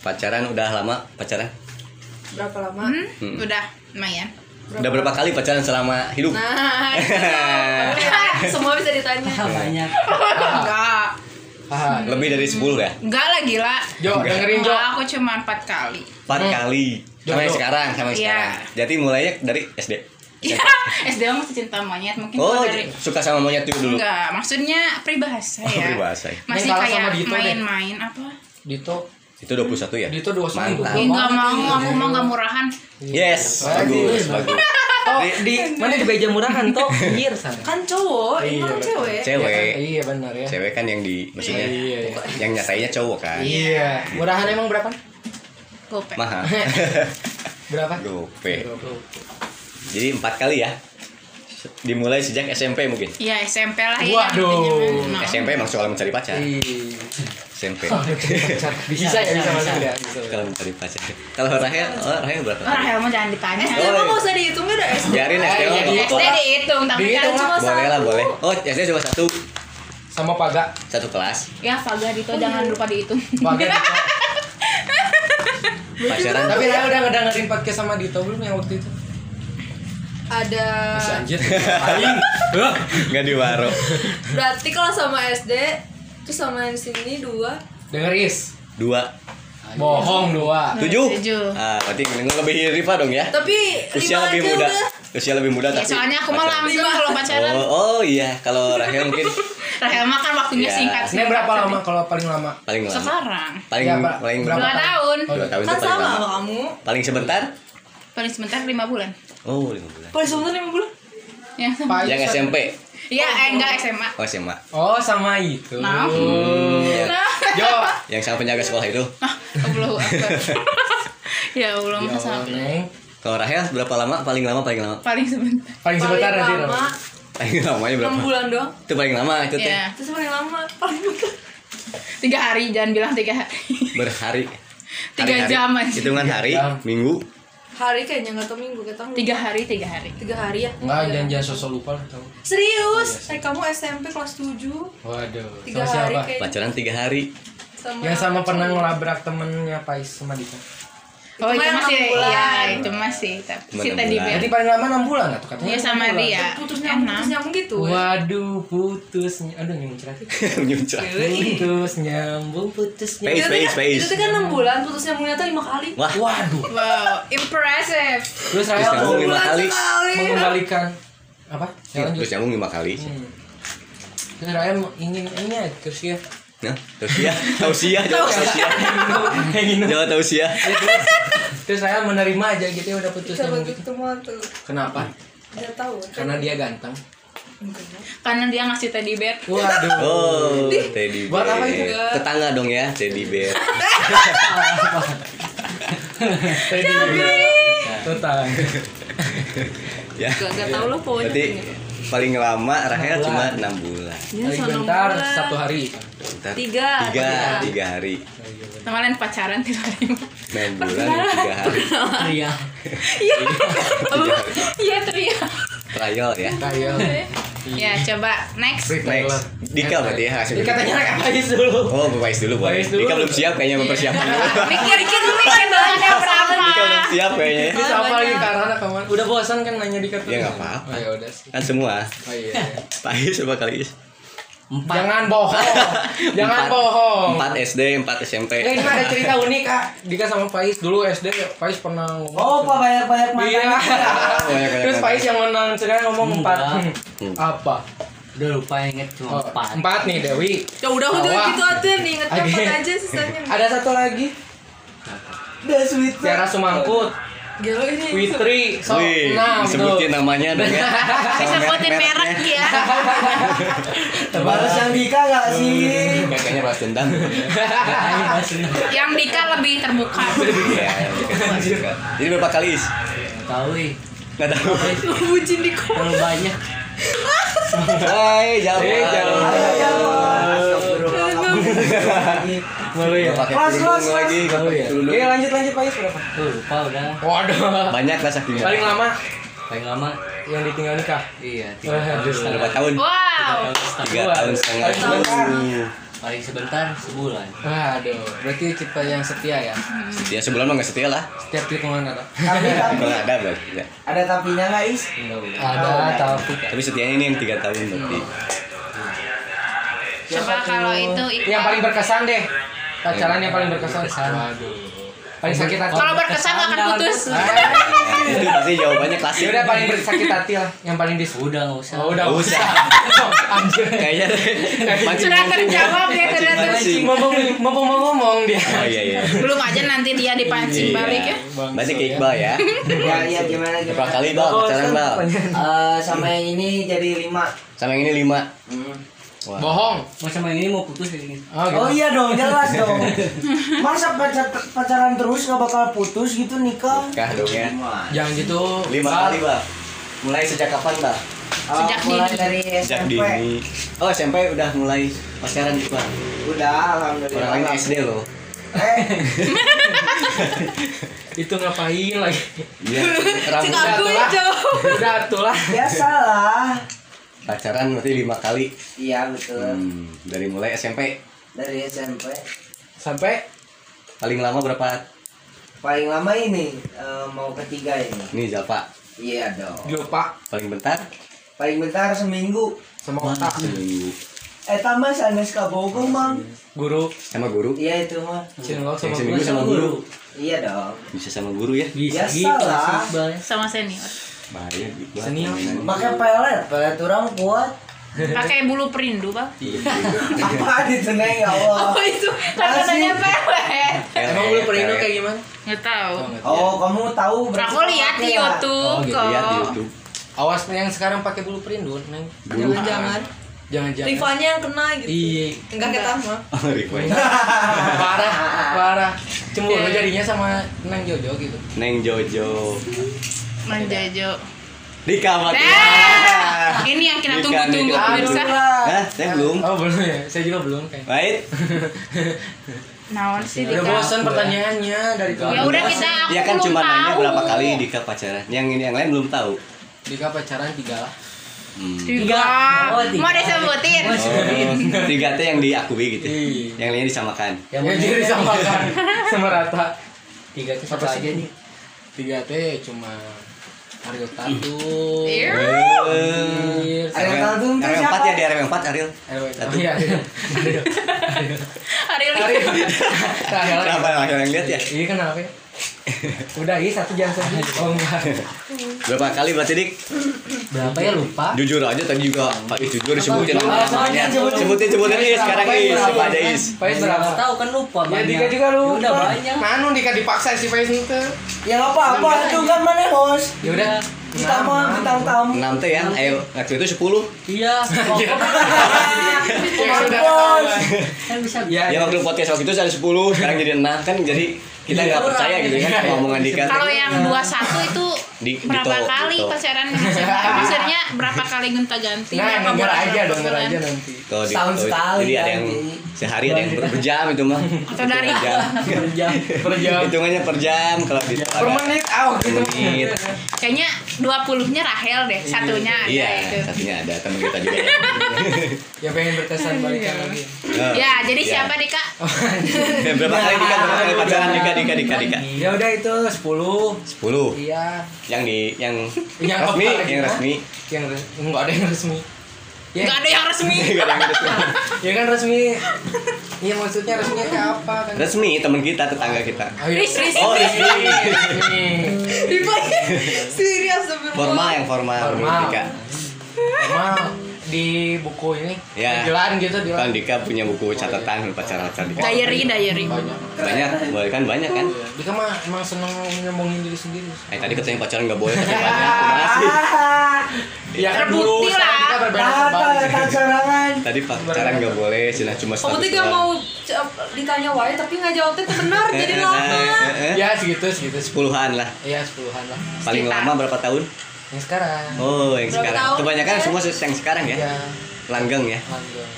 Speaker 2: pacaran udah lama pacaran
Speaker 5: Berapa lama?
Speaker 3: Hmm, udah ya. lumayan
Speaker 2: udah berapa kali pacaran selama hidup
Speaker 5: Nah, semua bisa ditanya.
Speaker 4: Iya. banyak
Speaker 3: enggak
Speaker 1: Ah,
Speaker 2: lebih dari 10 ya
Speaker 3: enggak lah gila
Speaker 1: Jo, dengerin Jo.
Speaker 3: enggak aku cuma empat kali
Speaker 2: empat kali
Speaker 1: Jodoh.
Speaker 2: sampai Eh. sekarang sampai
Speaker 3: Iya.
Speaker 2: sekarang jadi mulainya dari SD
Speaker 3: ya SD mah cinta monyet mungkin
Speaker 2: oh
Speaker 3: gua dari
Speaker 2: suka sama monyet juga dulu
Speaker 3: enggak maksudnya peribahasa
Speaker 2: Oh,
Speaker 3: ya
Speaker 2: peribahasa.
Speaker 3: masih
Speaker 1: Ini kalah sama
Speaker 3: kayak
Speaker 1: Dito deh.
Speaker 3: main-main apa
Speaker 1: Dito.
Speaker 2: itu 21 ya
Speaker 1: Dito 21.
Speaker 2: Mantap.
Speaker 3: Ih, enggak mau aku mau enggak murahan
Speaker 1: Iya,
Speaker 2: yes bagus bagus
Speaker 1: Oh, di mana di meja murahan toh? Anjir sana.
Speaker 5: Kan cowok, ini
Speaker 1: Iya,
Speaker 5: kan
Speaker 1: betul.
Speaker 5: cewek.
Speaker 2: cewek
Speaker 1: Iya benar ya.
Speaker 2: cewek kan yang di maksudnya
Speaker 1: Iya, iya.
Speaker 2: yang nyatainya cowok kan
Speaker 1: Iya. Murahan emang berapa?
Speaker 3: gope
Speaker 2: mahal
Speaker 1: Berapa?
Speaker 2: gope jadi empat kali ya dimulai sejak SMP mungkin
Speaker 3: ya SMP lah ya
Speaker 1: Waduh.
Speaker 3: intinya
Speaker 1: Nah.
Speaker 3: mah. No.
Speaker 2: SMP emang soal mencari pacar
Speaker 1: Ih.
Speaker 2: SMP
Speaker 1: Iya. Oh, Bisa ya bisa bisa. bisa.
Speaker 2: kalau mencari pacar kalau Rahel oh, Rahel berapa
Speaker 3: Oh, Rahel mau jangan ditanya
Speaker 5: SD mah nggak usah dihitung udah SD.
Speaker 2: biarin SD
Speaker 1: Eh,
Speaker 2: mah
Speaker 1: jadi
Speaker 2: nggak
Speaker 3: SD
Speaker 2: apa-apa.
Speaker 3: dihitung tapi kan
Speaker 1: Dihitung lah.
Speaker 3: cuma
Speaker 2: boleh lah boleh oh SD cuma satu
Speaker 1: Sama Paga.
Speaker 2: satu kelas
Speaker 3: ya Faga Dito jangan lupa dihitung
Speaker 1: Paga Dito.
Speaker 2: pacaran
Speaker 1: Tapi Raya udah ngedengerin podcast sama Dito belum yang waktu itu?
Speaker 5: Ada.
Speaker 1: Si anjir. Aing. Hah?
Speaker 2: nggak di waro
Speaker 5: Berarti kalau sama SD terus sama yang di sini dua.
Speaker 1: Denger Is.
Speaker 2: dua
Speaker 1: Bohong dua.
Speaker 2: tujuh
Speaker 3: Tujuh.
Speaker 2: ah berarti lebih Rifa dong ya
Speaker 5: Tapi
Speaker 2: usia
Speaker 5: lima
Speaker 2: lebih
Speaker 5: aja
Speaker 2: muda
Speaker 5: udah.
Speaker 2: usia lebih muda
Speaker 3: ya
Speaker 2: tapi
Speaker 3: soalnya aku mah
Speaker 2: pacaran.
Speaker 3: langsung kalau pacaran
Speaker 2: oh, oh iya kalau Rahel mungkin
Speaker 3: Rahel mah kan waktunya
Speaker 2: Iya.
Speaker 3: singkat.
Speaker 1: Ini berapa lama kalau paling lama?
Speaker 2: paling lama
Speaker 3: Sekarang.
Speaker 2: paling
Speaker 1: Ya, Pak.
Speaker 2: paling
Speaker 1: Berapa?
Speaker 3: Dua tahun.
Speaker 2: Oh, dua tahun itu
Speaker 5: Kan
Speaker 2: paling
Speaker 5: sama
Speaker 2: lama
Speaker 5: sama kamu.
Speaker 2: paling sebentar
Speaker 3: Paling sebentar lima bulan.
Speaker 2: oh lima bulan
Speaker 5: Paling sebentar lima bulan.
Speaker 3: Ya.
Speaker 1: Pak
Speaker 2: yang
Speaker 1: Is-
Speaker 2: SMP
Speaker 3: Ya, eh, enggak SMA.
Speaker 2: oh SMA
Speaker 1: Oh, sama itu.
Speaker 2: yang,
Speaker 3: Nah.
Speaker 1: Jo.
Speaker 2: Hmm, iya. yang sama penjaga sekolah itu
Speaker 3: Ah, Allahu Akbar. ya Allah,
Speaker 1: Ya
Speaker 3: masa
Speaker 1: Allah,
Speaker 3: sampai.
Speaker 1: Neng.
Speaker 2: kalau Rahel berapa lama paling lama paling lama
Speaker 3: Paling sebentar.
Speaker 1: Paling sebentar nanti.
Speaker 5: paling lama
Speaker 1: Ron.
Speaker 2: paling lamanya berapa
Speaker 5: enam bulan doang.
Speaker 2: itu paling lama itu teh
Speaker 3: Ya.
Speaker 5: Terus paling lama paling bentar.
Speaker 3: Tiga hari, jangan bilang tiga hari.
Speaker 2: berhari
Speaker 3: Tiga
Speaker 2: Hari-hari.
Speaker 3: jam aja.
Speaker 2: hitungan hari
Speaker 1: jam.
Speaker 2: minggu
Speaker 5: Hari kayaknya nggak tau minggu kita tau.
Speaker 3: Tiga hari, tiga hari.
Speaker 5: tiga hari ya.
Speaker 1: Enggak, jangan-jangan sosok lupa lah tahu.
Speaker 5: Serius? Eh kamu SMP kelas 7
Speaker 1: Waduh.
Speaker 5: tiga
Speaker 1: sama
Speaker 5: hari
Speaker 1: siapa?
Speaker 5: kayaknya
Speaker 2: pacaran tiga hari
Speaker 5: sama
Speaker 1: Yang sama pernah ngelabrak temennya Pais sama Dita.
Speaker 5: mah
Speaker 3: oh itu
Speaker 5: yang
Speaker 3: masih
Speaker 5: enam bulan.
Speaker 3: ya itu masih tapi
Speaker 2: Cuma
Speaker 3: si
Speaker 2: enam
Speaker 3: tadi
Speaker 2: bulan.
Speaker 3: Bel.
Speaker 1: Jadi paling lama 6 bulan nggak tuh katanya? enam
Speaker 3: dia Iya, sama
Speaker 1: bulan.
Speaker 3: dia
Speaker 5: putus nyambung
Speaker 3: enak
Speaker 5: putus nyambung gitu ya
Speaker 1: Waduh putus Aduh nyambung cerah
Speaker 2: Nyuncah.
Speaker 1: Putus nyambung putus nyambung
Speaker 2: Face, face, face.
Speaker 5: itu tuh kan enam bulan putus nyambungnya tuh lima kali
Speaker 2: Wah,
Speaker 1: Waduh
Speaker 3: wow impressive
Speaker 1: Terus saya
Speaker 2: terus nyambung lima kali.
Speaker 1: mengembalikan Apa? Ya, lanjut
Speaker 2: Iya, Terus nyambung lima kali.
Speaker 1: Hmm. Terus saya ingin ini ya terus ya
Speaker 2: Nah, tausiah, tausiah, jawab tausiah. Jawab tausiah.
Speaker 1: Terus saya menerima aja gitu ya udah putus
Speaker 5: coba
Speaker 1: nyambung gitu
Speaker 5: ketemu tuh
Speaker 1: Kenapa?
Speaker 5: udah tahu
Speaker 1: Karena dia ganteng
Speaker 3: karena dia ngasih teddy bear
Speaker 1: Waduh
Speaker 2: Oh, teddy bear.
Speaker 1: Buat apa itu?
Speaker 2: Tetangga dong ya, teddy bear.
Speaker 1: Total
Speaker 2: Ya.
Speaker 5: gak gak tahu
Speaker 1: Iya.
Speaker 5: lo pokoknya
Speaker 2: Berarti paling lama Rahel cuma enam bulan.
Speaker 3: Iya,
Speaker 5: Dia
Speaker 1: Paling
Speaker 5: soal enam
Speaker 1: bentar
Speaker 5: bulan.
Speaker 1: satu hari
Speaker 2: Bentar.
Speaker 5: Tiga.
Speaker 2: Tiga, tiga hari.
Speaker 3: kemarin pacaran tiba-tiba
Speaker 2: Enam bulan, tiga hari.
Speaker 4: Iya.
Speaker 3: iya teriak
Speaker 2: Trial ya.
Speaker 1: Kayak
Speaker 3: ya coba next
Speaker 2: Next. Dika berarti ya hasil.
Speaker 1: Dika tanya lagi apa aja dulu
Speaker 2: Oh, Bapak dulu boleh.
Speaker 1: Bapais dulu.
Speaker 2: Dika belum siap kayaknya mempersiapkan dulu.
Speaker 3: mikir mikir lu mikir bahannya berapa
Speaker 2: Dika belum siap kayaknya.
Speaker 1: Terus apa lagi karena kemarin udah bosan kan nanya Dika terus
Speaker 2: Ya, nggak apa-apa.
Speaker 1: Oh, ya udah sih
Speaker 2: Kan semua.
Speaker 1: Oh iya
Speaker 2: Pais berapa kali?
Speaker 4: Empat.
Speaker 1: Jangan bohong Jangan
Speaker 2: Empat.
Speaker 1: bohong
Speaker 2: Empat SD, empat SMP.
Speaker 1: Oh. Eh, ini mah ada cerita unik kak Dika sama Faiz dulu SD Faiz pernah ngomong
Speaker 6: Oh, pak banyak banyak mantan.
Speaker 1: Iya
Speaker 2: Banyak-banyak
Speaker 1: Terus Faiz yang menang cerita ngomong empat
Speaker 4: Enggak.
Speaker 1: Hmm. Apa?
Speaker 4: Udah lupa inget cuma
Speaker 1: Oh,
Speaker 4: empat.
Speaker 1: Empat nih Dewi
Speaker 5: ya udah udah
Speaker 1: Bawa.
Speaker 5: gitu aja nih inget
Speaker 1: Oke.
Speaker 5: tempat aja sisanya
Speaker 1: Ada satu lagi
Speaker 6: Udah sweet.
Speaker 1: Tiara Sumangkut
Speaker 5: gelo ini
Speaker 1: Witri So,
Speaker 2: Wih,
Speaker 1: enam
Speaker 2: sebutin
Speaker 1: tuh
Speaker 2: namanya dong ya. Sama
Speaker 3: disebutin merek
Speaker 2: merek-mereknya.
Speaker 3: ya
Speaker 6: Balas yang Dika gak
Speaker 4: Iya,
Speaker 6: sih?
Speaker 2: Kayaknya balas dendam. Iya,
Speaker 3: yang Dika lebih terbuka
Speaker 2: Iya, bukan juga. Jadi berapa kali is?
Speaker 4: Nggak Tahu ih.
Speaker 2: Nggak tahu.
Speaker 5: bucin di kok
Speaker 4: Terlalu banyak.
Speaker 2: Hai, jawab.
Speaker 1: Eh, jawab. Malu ya
Speaker 2: Pakai
Speaker 6: Kelas,
Speaker 2: kerudung
Speaker 6: kelas,
Speaker 2: lagi,
Speaker 1: Malu
Speaker 2: pakai
Speaker 1: ya
Speaker 2: kerudung.
Speaker 1: Oke lanjut lanjut Faiz berapa?
Speaker 4: Tuh lupa udah.
Speaker 1: Waduh
Speaker 2: Banyak lah ya. sakinya.
Speaker 1: Paling lama
Speaker 4: Paling lama
Speaker 1: yang ditinggal nikah
Speaker 4: iya tiga tahun
Speaker 1: Waduh
Speaker 2: berapa tahun?
Speaker 3: wow
Speaker 4: Tahun setengah.
Speaker 2: Tiga tahun setengah.
Speaker 1: Hmm.
Speaker 4: Paling sebentar sebulan.
Speaker 1: Waduh, berarti kita yang setia ya?
Speaker 2: Setia sebulan mah nggak setia lah.
Speaker 1: Setiap lingkungan ada?
Speaker 6: Tapi tapi
Speaker 2: Kalau nggak ada berarti. Ya.
Speaker 6: ada tapinya nggak is?
Speaker 4: Enggak udah.
Speaker 1: Ada, tapi
Speaker 2: Tapi setianya ini yang tiga tahun berarti.
Speaker 1: Hmm.
Speaker 3: coba kalau itu
Speaker 1: Yang
Speaker 3: Iqbal
Speaker 1: paling berkesan deh Pacaran yang paling berkesan Waduh Paling sakit hati
Speaker 3: kalau berkesan gak akan putus
Speaker 2: Nah, itu pasti jawabannya klasik.
Speaker 1: Ya udah paling sakit hati lah Yang paling dis
Speaker 4: Udah nggak usah.
Speaker 1: Oh udah
Speaker 2: Nggak
Speaker 1: usah
Speaker 2: usah.
Speaker 1: Anjir
Speaker 2: Kayaknya
Speaker 3: sudah terjawab ya sudah ter-
Speaker 2: Mancing.
Speaker 1: Mau ngomong ngomong dia
Speaker 2: Oh iya iya.
Speaker 3: belum aja nanti dia dipancing
Speaker 2: Iya.
Speaker 3: balik ya
Speaker 2: Berarti kayak Iqbal ya.
Speaker 6: Ya iya gimana
Speaker 2: Berapa
Speaker 6: gimana?
Speaker 2: kali bal pacaran bal?
Speaker 6: Eh, sama yang ini jadi lima.
Speaker 2: Sama yang ini lima. Wah.
Speaker 1: Bohong
Speaker 4: Mau sama yang ini mau putus kayak gini.
Speaker 1: Oh
Speaker 6: Oh
Speaker 1: gitu
Speaker 6: iya dong, jelas dong. Masa pacar pacaran terus nggak bakal putus gitu nikah?
Speaker 2: Kah dong
Speaker 6: Iya.
Speaker 2: ya.
Speaker 1: Jangan gitu
Speaker 2: Lima
Speaker 1: Bal.
Speaker 2: kali bal. Mulai sejak kapan bal?
Speaker 6: Eh,
Speaker 3: Sejak
Speaker 6: mulai
Speaker 3: dini.
Speaker 6: dari
Speaker 2: Sejak
Speaker 6: SMP.
Speaker 2: dini. Oh SMP udah mulai pacaran Iqbal.
Speaker 6: Udah
Speaker 2: Orang
Speaker 6: alhamdulillah.
Speaker 2: lain SD loh.
Speaker 6: Eh,
Speaker 1: Itu ngapain lagi
Speaker 2: Iya. Rambut
Speaker 1: Udah tuh lah
Speaker 5: jauh
Speaker 1: Udah tuh lah
Speaker 6: biasalah.
Speaker 2: pacaran berarti lima kali.
Speaker 6: Iya betul.
Speaker 2: Hmm, dari mulai SMP
Speaker 6: Dari SMP.
Speaker 1: Sampai
Speaker 2: paling lama berapa?
Speaker 6: Paling lama ini eh, mau ketiga ini.
Speaker 2: Nih Japa.
Speaker 6: Iya dong.
Speaker 1: lupa
Speaker 2: Paling bentar
Speaker 6: Paling bentar seminggu.
Speaker 1: sama otak
Speaker 2: seminggu.
Speaker 6: Eh tambah sanes ka bogo mang.
Speaker 1: Guru
Speaker 2: Sama guru.
Speaker 6: Iya itu mah.
Speaker 1: Cinlok
Speaker 2: Yang
Speaker 1: sama
Speaker 2: seminggu
Speaker 1: guru
Speaker 2: sama guru.
Speaker 6: Iya dong.
Speaker 2: Bisa sama guru ya?
Speaker 4: Bisa
Speaker 6: Biasa
Speaker 4: gitu
Speaker 6: lah.
Speaker 4: sih, Bal.
Speaker 3: sama senior
Speaker 2: Bahaya Iqbal.
Speaker 1: Senior.
Speaker 2: permainan.
Speaker 6: Pakai pelet, pelet orang kuat.
Speaker 3: pakai bulu perindu bang
Speaker 2: Iya.
Speaker 6: Apa itu neng ya Allah.
Speaker 3: itu katanya pelet
Speaker 1: Emang lu perino
Speaker 3: gitu?
Speaker 1: kayak gimana?
Speaker 3: nggak tahu
Speaker 6: Oh kamu tahu berarti
Speaker 3: aku
Speaker 6: kamu
Speaker 3: lihat
Speaker 6: pakai
Speaker 3: di
Speaker 6: ya?
Speaker 2: Oh,
Speaker 3: YouTube
Speaker 2: gitu
Speaker 3: kok
Speaker 2: ya di YouTube.
Speaker 1: Awas yang sekarang pakai bulu perindu, Neng.
Speaker 2: Bulu.
Speaker 5: jangan
Speaker 1: Jangan-jangan.
Speaker 5: Rifanya yang kena gitu
Speaker 1: Iya,
Speaker 5: enggak kita mah
Speaker 2: Oh, rewind.
Speaker 1: parah, parah. Cemburu jadinya sama Neng Jojo gitu.
Speaker 2: Neng Jojo.
Speaker 3: menjajo
Speaker 2: Dika Fatia. Iya.
Speaker 3: Nah, Eh! ini yang kita
Speaker 2: Dika,
Speaker 1: kan.
Speaker 3: tunggu-tunggu
Speaker 2: Dika.
Speaker 3: pemirsa.
Speaker 2: Hah, Eh, saya belum.
Speaker 1: Oh, belum ya. Saya juga belum kayak.
Speaker 2: Baik.
Speaker 3: Naon sih
Speaker 1: Udah
Speaker 3: Dika?
Speaker 1: bosan pertanyaannya dari
Speaker 3: Ya
Speaker 1: kamu.
Speaker 3: udah kita aku
Speaker 2: Dia kan
Speaker 3: belum
Speaker 2: cuma nanya
Speaker 3: tahu.
Speaker 2: berapa kali Dika pacaran. Yang ini yang lain belum tahu.
Speaker 1: Dika pacaran tiga lah.
Speaker 2: Hmm.
Speaker 3: Tiga.
Speaker 4: Oh, tiga.
Speaker 3: Mau disebutin.
Speaker 2: Oh, tiga teh yang diakui gitu.
Speaker 1: Iya.
Speaker 2: Yang lainnya disamakan.
Speaker 1: Ya jadi sama kan, sama rata.
Speaker 4: tiga itu satu aja nih
Speaker 1: tiga t cuma Ariel Tatum Pierce,
Speaker 6: Ariel Tatum tuh
Speaker 2: RW4
Speaker 6: siapa?
Speaker 2: ya di RW4 Ariel.
Speaker 1: Ariel
Speaker 2: Tatum.
Speaker 1: oh iya, ya. Ariel. Ariel.
Speaker 3: Ariel
Speaker 1: Ariel. Nah, Ariel lagi.
Speaker 2: Kenapa yang yang lihat ya?
Speaker 1: Ini kenapa ya? Udah, ini satu jam saja. Oh enggak.
Speaker 2: Berapa kali berarti Dik?
Speaker 4: berapa ya lupa
Speaker 2: Jujur aja tadi juga Pak Is jujur sebutin lah namanya.
Speaker 6: sebutin.
Speaker 2: Sebutin
Speaker 4: Kan
Speaker 2: sebutin
Speaker 4: iya,
Speaker 2: Is sekarang Is
Speaker 1: Berapa?
Speaker 2: coba ada Is.
Speaker 1: Faiz berapa?
Speaker 4: Nggak iya, tahu kan lupa
Speaker 1: Ya
Speaker 4: banyak.
Speaker 6: Iya
Speaker 1: Dika juga lu.
Speaker 4: Ya udah banyak
Speaker 1: Manu Dika dipaksa si Faiz itu.
Speaker 6: Ya nggak apa-apa itu kan mana host.
Speaker 1: Ya udah.
Speaker 6: Kita mah bintang tamu.
Speaker 2: 6 teh ya. Ayo waktu itu 10.
Speaker 4: iya
Speaker 1: Ya sudah ketahuan.
Speaker 4: kan bisa
Speaker 1: Ya,
Speaker 2: Ya waktu podcast waktu itu ada 10, sekarang jadi 6 kan jadi kita nggak percaya gitu kan sama omongan Dika.
Speaker 3: Kalau yang 21 itu
Speaker 2: Di-
Speaker 3: berapa
Speaker 2: dito-
Speaker 3: kali
Speaker 2: dito.
Speaker 3: pacaran maksudnya? Maksudnya berapa kali gonta ganti?
Speaker 1: Nah,
Speaker 3: berapa
Speaker 1: denger
Speaker 3: bulan,
Speaker 1: aja,
Speaker 3: berapa
Speaker 1: denger
Speaker 3: bulan?
Speaker 1: aja nanti.
Speaker 2: Kalau di-
Speaker 6: Setahun
Speaker 2: kalau-
Speaker 6: sekali
Speaker 2: Jadi ada
Speaker 6: kan,
Speaker 2: yang
Speaker 6: jadi.
Speaker 2: sehari ada yang ber- berjam itu mah.
Speaker 3: Atau dari-
Speaker 2: Per jam.
Speaker 4: Iya.
Speaker 1: Per jam.
Speaker 2: Hitungannya per jam kalau di
Speaker 1: Iya. Per menit, aw gitu.
Speaker 2: menit.
Speaker 3: Kayaknya 20-nya Rahel deh, satunya ada
Speaker 2: Iya,
Speaker 3: itu.
Speaker 2: satunya ada teman kita juga. ya.
Speaker 1: Ya pengen berkesan
Speaker 3: Iya.
Speaker 1: balikan lagi. Oh,
Speaker 2: Eh,
Speaker 3: Ya, jadi
Speaker 2: iya.
Speaker 3: siapa deh Kak?
Speaker 2: Ya, berapa kali Dika berapa kali pacaran Dika Dika Dika Dika?
Speaker 1: Ya udah itu 10.
Speaker 2: 10.
Speaker 1: Iya.
Speaker 2: Yang di yang
Speaker 1: Yang
Speaker 2: resmi,
Speaker 1: apa lagi,
Speaker 2: yang
Speaker 1: Mas?
Speaker 2: resmi.
Speaker 1: Yang re- enggak ada yang resmi.
Speaker 2: Iya.
Speaker 1: Ya,
Speaker 3: Gak ada yang resmi.
Speaker 2: Nggak ada yang resmi.
Speaker 1: ya kan resmi. Iya maksudnya resminya kayak apa kan?
Speaker 2: Resmi teman kita tetangga kita.
Speaker 1: Oh, iya.
Speaker 3: Ris, ris,
Speaker 2: Oh,
Speaker 3: ris.
Speaker 2: resmi.
Speaker 1: Resmi.
Speaker 5: Serius astagfirullah.
Speaker 2: Formal yang formal,
Speaker 1: Formal.
Speaker 2: menurut Dika.
Speaker 1: Emang di buku ini
Speaker 2: Ya.
Speaker 1: dilan gitu
Speaker 2: Kan
Speaker 1: dilan.
Speaker 2: Dika punya buku catatan pacaran-pacaran Dika.
Speaker 3: Diary, diary.
Speaker 2: Iya.
Speaker 1: Banyak.
Speaker 2: Banyak, boleh kan banyak kan?
Speaker 1: Dika mah emang seneng nyombongin diri sendiri.
Speaker 3: Ya,
Speaker 2: Eh tadi katanya pacaran nggak boleh katanya banyak.
Speaker 6: Ah,
Speaker 2: Kumaha sih?
Speaker 1: Ya kan
Speaker 3: Terbukti
Speaker 1: dulu sekarang
Speaker 3: lah.
Speaker 1: kita berbeda
Speaker 6: Tata,
Speaker 1: kembali.
Speaker 6: tak serangan.
Speaker 2: Tadi pacaran nggak boleh, cina cuma
Speaker 5: Kamu tuh gak Oh, mau eh, ditanya wae tapi nggak jawabnya tuh benar
Speaker 2: Eh,
Speaker 5: jadi lama.
Speaker 2: Nah.
Speaker 1: Ya segitu segitu.
Speaker 2: Sepuluhan lah,
Speaker 1: Ya sepuluhan lah.
Speaker 2: paling
Speaker 3: Sekitar.
Speaker 2: lama berapa tahun?
Speaker 1: Yang sekarang.
Speaker 2: Oh, yang
Speaker 5: Berapa
Speaker 2: sekarang.
Speaker 5: tahun,
Speaker 2: Kebanyakan
Speaker 5: Teh?
Speaker 2: semua yang sekarang ya.
Speaker 1: Ya
Speaker 2: Langgeng ya.
Speaker 1: langgeng.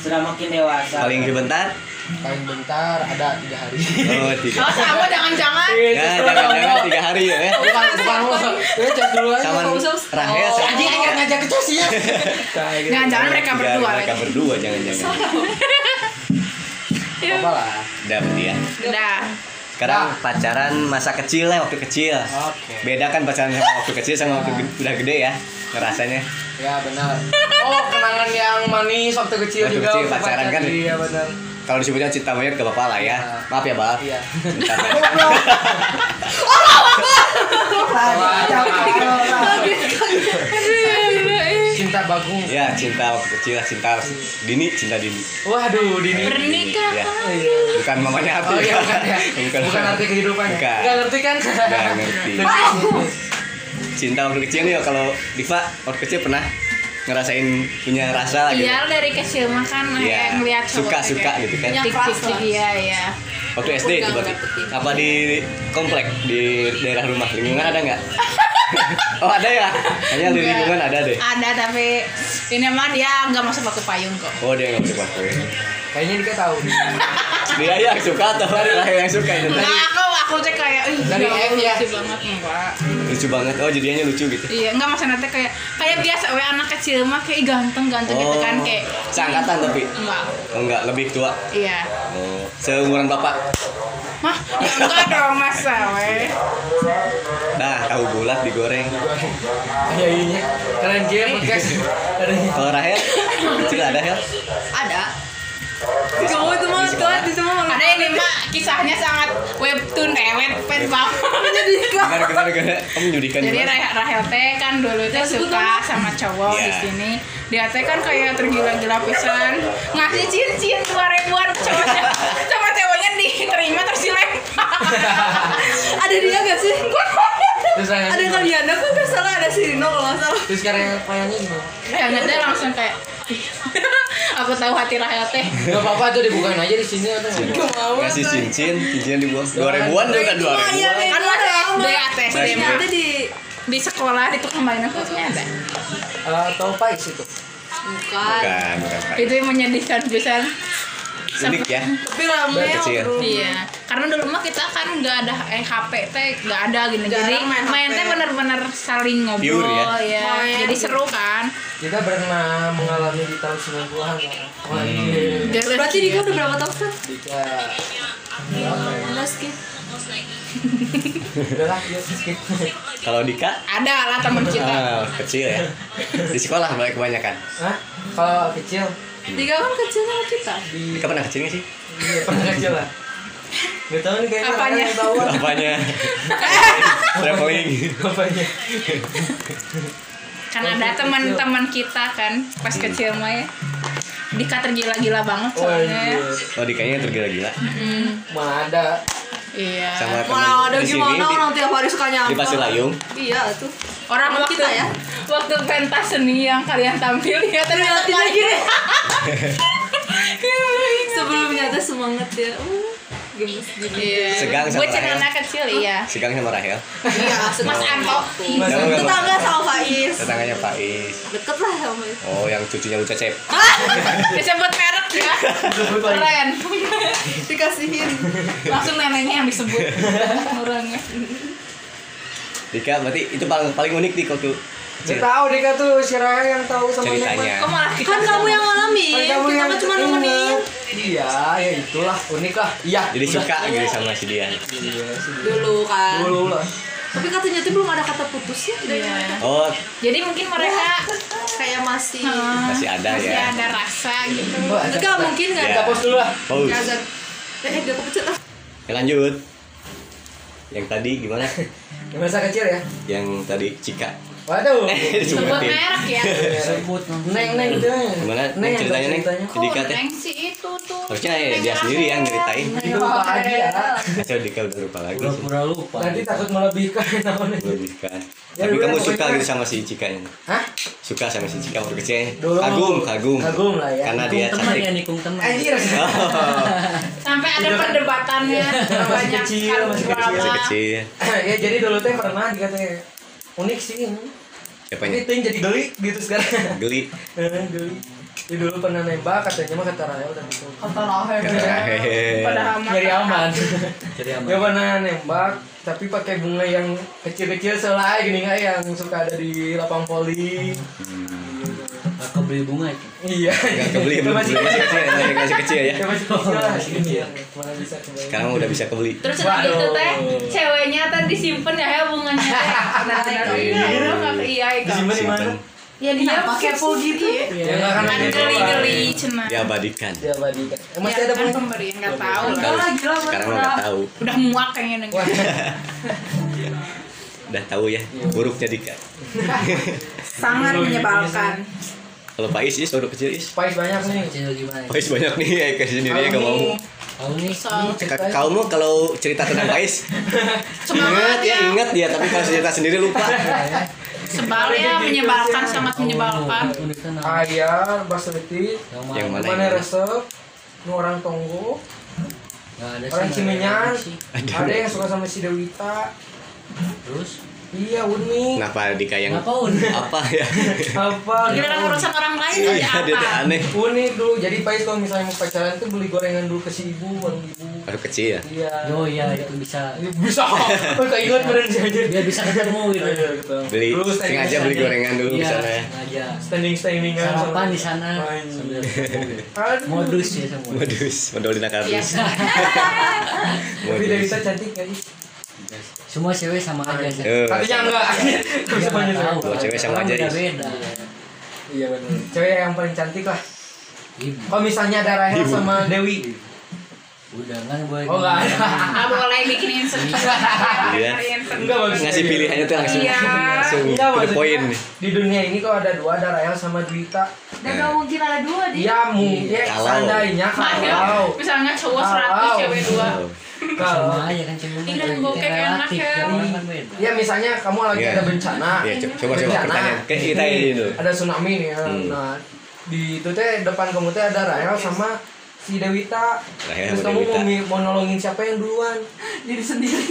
Speaker 6: Sudah makin dewasa.
Speaker 2: Paling sebentar.
Speaker 1: Paling bentar ada tiga hari.
Speaker 2: Oh,
Speaker 3: Oh,
Speaker 2: tiga.
Speaker 3: sama jangan-jangan.
Speaker 1: iya,
Speaker 2: Ya, jangan-jangan tiga hari ya. ya.
Speaker 1: Bukan bukan lo. Ya cek dulu aja.
Speaker 2: Sama
Speaker 5: Sama Sus.
Speaker 2: Rahel.
Speaker 5: Oh.
Speaker 2: sama-
Speaker 1: Anjing yang ngajak itu sih ya. Nah, gitu.
Speaker 3: Jangan-jangan mereka
Speaker 2: Tiga-
Speaker 3: berdua.
Speaker 2: Iya. Mereka berdua jangan-jangan.
Speaker 1: Apa lah.
Speaker 2: Udah berarti ya.
Speaker 3: Iya. Udah.
Speaker 2: Sekarang pacaran masa kecil lah waktu kecil.
Speaker 1: Oke.
Speaker 2: Beda kan pacaran sama waktu kecil sama waktu gede- udah gede ya ngerasanya.
Speaker 1: Ya benar. Oh kenangan yang manis waktu kecil
Speaker 2: Waktu
Speaker 1: juga.
Speaker 2: kecil
Speaker 1: waktu
Speaker 2: pacaran kan?
Speaker 1: Iya benar.
Speaker 2: Kalau disebutnya cinta monyet gak apa-apa lah ya.
Speaker 1: Iya.
Speaker 2: Maaf ya, Bal.
Speaker 1: Iya.
Speaker 2: Cinta monyet.
Speaker 6: Goblok.
Speaker 1: Wah,
Speaker 6: Lagi, jangan, orang.
Speaker 1: Cinta Bagung.
Speaker 2: Ya, cinta waktu kecil, cinta dini, cinta dini.
Speaker 1: Waduh, Dini.
Speaker 2: Dini,
Speaker 3: Pernikahan.
Speaker 2: ya.
Speaker 1: Iya.
Speaker 2: Bukan mamanya hati.
Speaker 1: Oh iya bukan ya.
Speaker 2: bukan,
Speaker 1: Bukan arti kehidupan. ya?
Speaker 2: Bukan.
Speaker 1: Nggak ngerti kan?
Speaker 2: Nggak ngerti. Cinta waktu kecil nih kalau Diva waktu kecil pernah ngerasain punya rasa lah gitu.
Speaker 3: Iya, dari kecil mah kan
Speaker 2: Iya.
Speaker 3: kayak ngeliat
Speaker 2: Suka- suka gitu kan.
Speaker 3: Tik-tik iya, iya.
Speaker 2: Waktu SD itu berarti.
Speaker 3: gitu.
Speaker 2: Apa di komplek di daerah rumah lingkungan ada nggak? oh ada ya. Hanya di lingkungan ada deh.
Speaker 3: Ada tapi ini mah dia nggak masuk pakai payung kok.
Speaker 2: Oh dia nggak suka kue.
Speaker 1: Kayaknya Dika tahu.
Speaker 2: Dia yang Iya, suka atau Rahel yang suka itu
Speaker 3: Enggak,
Speaker 2: tadi?
Speaker 3: Nah, aku aku teh kayak ih,
Speaker 1: Dari
Speaker 3: Allah,
Speaker 1: F ya?
Speaker 3: lucu banget enggak.
Speaker 2: Lucu banget. Oh jadinya lucu gitu.
Speaker 3: Iya, enggak maksudnya teh kayak kayak biasa we anak kecil mah kayak ih, ganteng-ganteng gitu kan kayak
Speaker 2: Oh. Seangkatan tapi.
Speaker 3: enggak.
Speaker 2: Oh enggak, lebih tua.
Speaker 3: Iya.
Speaker 2: Oh, seumuran bapak.
Speaker 3: Mah, ya enggak dong masa we.
Speaker 2: Nah, tahu bulat digoreng.
Speaker 1: Iya iya. Keren game podcast. Keren.
Speaker 2: Kalau Rahel, kecil ada Hel.
Speaker 3: Ada.
Speaker 5: Kamu itu mah
Speaker 2: Di
Speaker 5: tuh
Speaker 2: sekolah.
Speaker 5: itu mah
Speaker 3: Ada ini mah kisahnya sangat webtoon eh
Speaker 5: Iya,
Speaker 3: webtoon banget.
Speaker 2: Gimana, gimana, gimana? Kamu menyudikan
Speaker 3: Jadi
Speaker 2: gimana?
Speaker 3: Rahel, Rahel teh kan dulu
Speaker 5: Iya,
Speaker 3: teh suka sama cowok
Speaker 2: Iya.
Speaker 3: di sini. Dia teh kan kayak tergila-gila pisan ngasih cincin dua ribuan ke cowoknya, sama cowoknya diterima terus dilempar.
Speaker 5: ada dia gak sih?
Speaker 1: Terus saya-
Speaker 5: ada kalian aku nggak salah ada si Rino kalau nggak salah.
Speaker 1: Terus sekarang yang kayaknya gimana?
Speaker 3: Rahel teh langsung kayak "Ih, aku tahu hati Rahel teh.
Speaker 1: Gak apa-apa tuh dibukain aja di sini atau nggak?
Speaker 2: Ngasih cincin, cincin dibuang. Dua ribuan Iya, juga dua
Speaker 5: iya,
Speaker 2: ribuan.
Speaker 3: Kan masih SD, atau SD
Speaker 2: Masih.
Speaker 3: mah.
Speaker 5: Ada di
Speaker 3: di sekolah itu kembali khususnya ada.
Speaker 1: Atau Pais itu.
Speaker 5: bukan.
Speaker 2: Bukan, bukan. Pak.
Speaker 3: Itu yang menyedihkan pisan.
Speaker 2: Unik ya.
Speaker 5: Tapi rame
Speaker 2: Dari kecil. ya.
Speaker 3: Iya, karena dulu mah kita kan nggak ada eh, HP teh nggak ada gini.
Speaker 5: Jarang
Speaker 3: Jadi
Speaker 5: main
Speaker 3: main,
Speaker 5: HP.
Speaker 3: teh bener-bener saling ngobrol
Speaker 2: Pure ya?
Speaker 3: ya.
Speaker 5: Main.
Speaker 3: Jadi seru kan.
Speaker 1: Kita pernah mengalami di tahun 90-an kan. Wah, iya.
Speaker 5: Berarti Dika udah berapa tahun kan?
Speaker 1: Dika.
Speaker 5: 15 gitu.
Speaker 1: iya. Udah lah, gitu. yuk skip.
Speaker 2: Kalau Dika
Speaker 3: Ada lah teman kita.
Speaker 2: ah, kecil ya. Di sekolah mulai kebanyakan.
Speaker 1: Hah? Kalau kecil,
Speaker 2: Iya.
Speaker 5: Dika kan kecil sama kita.
Speaker 1: di
Speaker 2: Dika pernah kecil nggak sih?
Speaker 1: iya, pernah kecil lah. Gak tau nih kayaknya
Speaker 3: Apanya?
Speaker 1: orang yang tahu lah.
Speaker 2: Apanya? Traveling.
Speaker 1: Apanya?
Speaker 3: Kan
Speaker 2: Iya,
Speaker 3: ada teman-teman kita kan pas
Speaker 2: Hmm.
Speaker 3: kecil mah ya. Dika tergila-gila banget
Speaker 1: Oh
Speaker 3: soalnya.
Speaker 1: iya.
Speaker 2: Oh Dikanya tergila-gila.
Speaker 3: Mm,
Speaker 1: Mana ada
Speaker 3: iya.
Speaker 2: Sama teman
Speaker 5: Malah ada
Speaker 2: di sini,
Speaker 5: gimana
Speaker 2: di-
Speaker 5: orang tiap hari suka
Speaker 2: Di
Speaker 5: nyampah.
Speaker 2: Pasilayung.
Speaker 5: Iya tuh.
Speaker 3: Orang
Speaker 5: Teman
Speaker 3: waktu,
Speaker 5: kita ya?
Speaker 3: Waktu pentas seni yang kalian tampil ya ternyata
Speaker 5: Liatin lagi deh.
Speaker 3: Ya, ingat.
Speaker 5: Sebelumnya tuh semangat ya. Uh, gemes gitu.
Speaker 3: Iya.
Speaker 2: Segang sama ya.
Speaker 3: Gue celana kecil iya.
Speaker 2: Sigang sama Rahel.
Speaker 5: Iya,
Speaker 3: Mas Anto.
Speaker 2: Enggak, enggak,
Speaker 5: Tetangga sama Faiz.
Speaker 2: Tetangganya Pak Is.
Speaker 5: Deket lah sama Faiz.
Speaker 2: Oh, yang cucunya Uca Cep.
Speaker 3: Disebut merek ya. Keren.
Speaker 5: Dikasihin.
Speaker 3: Langsung neneknya yang disebut. Orangnya.
Speaker 2: Dika berarti itu paling paling unik di waktu
Speaker 1: Gak
Speaker 2: kecil
Speaker 1: tahu Dika tuh si Raya yang tahu sama
Speaker 2: Iya. ceritanya.
Speaker 3: Kok malah kita
Speaker 5: Kan kamu yang ngalamin.
Speaker 1: Kan
Speaker 5: Kita
Speaker 1: kamu yang
Speaker 5: mah cuma
Speaker 1: ingat.
Speaker 5: nemenin.
Speaker 1: Iya, ya itulah unik lah. Iya.
Speaker 2: Jadi
Speaker 1: udah.
Speaker 2: suka gitu sama si dia.
Speaker 1: Iya, sih.
Speaker 5: Dulu kan.
Speaker 1: Dulu lah.
Speaker 5: Tapi katanya tuh belum ada kata putus ya. dari mereka.
Speaker 2: Oh,
Speaker 3: Jadi mungkin mereka
Speaker 5: Kayak masih.
Speaker 3: eh,
Speaker 2: Masih ada
Speaker 3: masih
Speaker 2: ya.
Speaker 3: ada rasa gitu.
Speaker 1: Wah, ada-
Speaker 5: Enggak mungkin enggak
Speaker 2: Ya.
Speaker 5: ada.
Speaker 1: Post dulu lah.
Speaker 2: Paus.
Speaker 5: Enggak ada. Eh, enggak kepecut lah.
Speaker 2: Ya, lanjut. Yang tadi gimana?
Speaker 1: Masa kecil ya.
Speaker 2: Yang tadi Cika.
Speaker 1: Waduh.
Speaker 3: Sebut
Speaker 2: Disebutin.
Speaker 3: merek ya.
Speaker 6: Sebut dong.
Speaker 1: Neng neng gitu.
Speaker 2: Gimana? Neng
Speaker 1: yang
Speaker 2: ceritanya
Speaker 1: tahu
Speaker 2: Neng? Si
Speaker 3: Kok
Speaker 2: Dika teh.
Speaker 3: neng sih itu tuh.
Speaker 2: Harusnya ya, dia sendiri yang nyeritain.
Speaker 1: Itu lupa lagi ya.
Speaker 2: Saya Dika udah lupa lagi. sih.
Speaker 4: Pura-pura lupa.
Speaker 1: Nanti takut melebihkan namanya.
Speaker 2: Belum nikah.
Speaker 1: Ya,
Speaker 2: Tapi
Speaker 1: dulu
Speaker 2: kamu
Speaker 1: yang
Speaker 2: suka
Speaker 1: pokoknya-
Speaker 2: gitu sama si Cika ini?
Speaker 1: Hah?
Speaker 2: Suka sama si Cika waktu kecil?
Speaker 1: Dulu mah-
Speaker 2: Kagum, kagum.
Speaker 1: Kagum lah ya.
Speaker 2: Karena dia
Speaker 4: Nikung teman
Speaker 2: cantik.
Speaker 4: ya, nikung teman.
Speaker 1: Anjir.
Speaker 3: Sampai ada perdebatannya. Banyak
Speaker 1: kecil,
Speaker 3: kan
Speaker 1: Iya. masih
Speaker 2: Masih
Speaker 3: drama.
Speaker 2: kecil.
Speaker 1: ya jadi dulu teh pernah dikatanya unik sih ini.
Speaker 2: Siapanya?
Speaker 1: Tapi itu yang jadi geli gitu sekarang.
Speaker 2: Geli.
Speaker 1: Eh, geli. Jadi dulu pernah nembak katanya mah kata Raya udah gitu.
Speaker 3: Kata lahir.
Speaker 2: Hehehe.
Speaker 3: Padahal mah
Speaker 1: Nyari aman.
Speaker 4: Jadi aman.
Speaker 1: Dia pernah nembak tapi pakai bunga yang kecil-kecil selai gini nggak ya, yang suka ada di lapang voli.
Speaker 4: Nggak kebeli bunga itu.
Speaker 1: Iya.
Speaker 2: Gak kebeli,
Speaker 1: Itu
Speaker 2: belum
Speaker 1: masih
Speaker 2: kebeli masih kecil, masih masih kecil ya.
Speaker 1: itu masih kecil lah. Iya. Mana bisa kebayang.
Speaker 2: Sekarang udah bisa kebeli.
Speaker 3: Terus udah
Speaker 1: Waduh.
Speaker 3: gitu teh, ceweknya teh disimpan ya ya bunganya teh. Benar-benar iya, lu nggak keiyain kok.
Speaker 1: Disimpan di mana?
Speaker 2: Simpen,
Speaker 3: Ya dia pakai
Speaker 5: kepo gitu ya.
Speaker 4: Iya.
Speaker 1: Ya nggak akan
Speaker 3: kan
Speaker 1: ada
Speaker 3: geli-geli cuma.
Speaker 2: Ya, diabadikan.
Speaker 1: Dia abadikan.
Speaker 4: Iya,
Speaker 1: Eh, Masih
Speaker 3: Ya
Speaker 1: ada
Speaker 3: kan
Speaker 1: bunga.
Speaker 3: pemberian nggak tahu
Speaker 2: Nggak
Speaker 3: lah.
Speaker 2: tahu.
Speaker 5: gila, Mas.
Speaker 2: Sekarang mah nggak tahu.
Speaker 3: Udah muak kayaknya
Speaker 1: Wah.
Speaker 3: dengan
Speaker 2: Udah tahu ya buruknya Dika.
Speaker 3: sangat menyebalkan.
Speaker 2: Kalau Pak Is, Is udah kecil Is.
Speaker 1: Pais banyak nih.
Speaker 4: Kecil gimana?
Speaker 1: Iya.
Speaker 2: Pak Is banyak nih ya ke sendiri ya gak mau.
Speaker 4: Tahu nih.
Speaker 2: Ka- Kamu kalau cerita tentang Pak Is
Speaker 1: Iya,
Speaker 2: ingat ya ingat ya tapi kalau cerita sendiri lupa.
Speaker 1: Iya,
Speaker 3: Sebalnya ya, menyebalkan sangat
Speaker 1: Oh.
Speaker 3: menyebalkan.
Speaker 4: Unik kan.
Speaker 1: Ayah, basmati,
Speaker 2: Yang mana?
Speaker 1: mana resep, nu orang Tonggo,
Speaker 4: Nggak
Speaker 1: orang
Speaker 4: ada sih, nggak ada
Speaker 1: Cimenyan,
Speaker 4: sih.
Speaker 1: ada yang suka sama si Dewita.
Speaker 4: Terus
Speaker 1: Iya, unik.
Speaker 2: Kenapa Dika yang
Speaker 4: kenapa unik?
Speaker 2: apa ya?
Speaker 1: Apa?
Speaker 3: Gila kan urusan orang lain
Speaker 2: Iya
Speaker 3: aja
Speaker 2: dia tuh
Speaker 3: apa?
Speaker 2: aneh.
Speaker 1: Unik dulu. Jadi Pais kalau misalnya mau pacaran tuh beli gorengan dulu ke si ibu, warung ibu.
Speaker 2: Baru kecil ya.
Speaker 1: Iya.
Speaker 4: Oh iya itu bisa.
Speaker 1: Bisa. Oh, keinget beneran sih aja.
Speaker 4: Dia bisa ketemu gitu.
Speaker 1: Iya, gitu.
Speaker 2: Beli
Speaker 1: Dulu standing-
Speaker 2: sengaja beli gorengan dulu di
Speaker 4: Iya,
Speaker 2: sana. ya.
Speaker 4: sengaja.
Speaker 1: standing standingan
Speaker 4: Sarapan di sana. sambil ketemu. Modus ya semua.
Speaker 2: Modus, modal di
Speaker 3: Iya.
Speaker 2: nakardus.
Speaker 1: Tapi
Speaker 2: Modus.
Speaker 1: Dewita cantik gak sih?
Speaker 4: Semua cewek sama aja. Zak.
Speaker 2: Eh,
Speaker 1: Katanya enggak.
Speaker 4: Dia
Speaker 1: Bisa
Speaker 4: nggak
Speaker 1: banyak
Speaker 4: tahu.
Speaker 2: Dua cewek sama
Speaker 4: Orang
Speaker 2: aja, Is.
Speaker 4: Beda-beda.
Speaker 1: Iya benar. Cewek yang paling cantik lah.
Speaker 4: Ibu.
Speaker 1: Kalau misalnya ada Rahel sama Dewi.
Speaker 4: Udah kan boleh.
Speaker 1: Oh enggak ada.
Speaker 3: Nggak boleh bikin insecure. Iya.
Speaker 1: Enggak bagus.
Speaker 2: ngasih pilihannya tuh langsung
Speaker 3: Iya.
Speaker 2: langsung
Speaker 1: Enggak
Speaker 2: to the
Speaker 1: maksudnya
Speaker 2: point.
Speaker 1: di dunia ini kalau ada dua ada Rahel sama Dwita.
Speaker 5: Dan gak mungkin ada dua dia.
Speaker 1: Ya mungkin
Speaker 2: Kalau.
Speaker 1: seandainya kalau
Speaker 3: ya. Misalnya cowok
Speaker 1: Wow.
Speaker 3: 100, cewek 2.
Speaker 2: Oh,
Speaker 1: kalau
Speaker 4: Sama aja kan cewek.
Speaker 3: Ih, dan bokeh enak
Speaker 4: Relatif,
Speaker 3: ya.
Speaker 4: tiap orang kan beda.
Speaker 1: ya misalnya kamu lagi
Speaker 2: Iya.
Speaker 1: ada bencana.
Speaker 2: Iya, co- coba coba
Speaker 1: Bencana.
Speaker 2: pertanyaan. Kayak kita ini dulu.
Speaker 1: Ada tsunami nih. ya.
Speaker 2: Hmm.
Speaker 1: Nah, di itu teh depan kamu teh ada Rahel sama si Dewita.
Speaker 2: Rahel
Speaker 1: Terus
Speaker 2: sama
Speaker 1: kamu mau,
Speaker 2: Dewita.
Speaker 1: mi- mau nolongin siapa yang duluan?
Speaker 5: Diri sendiri.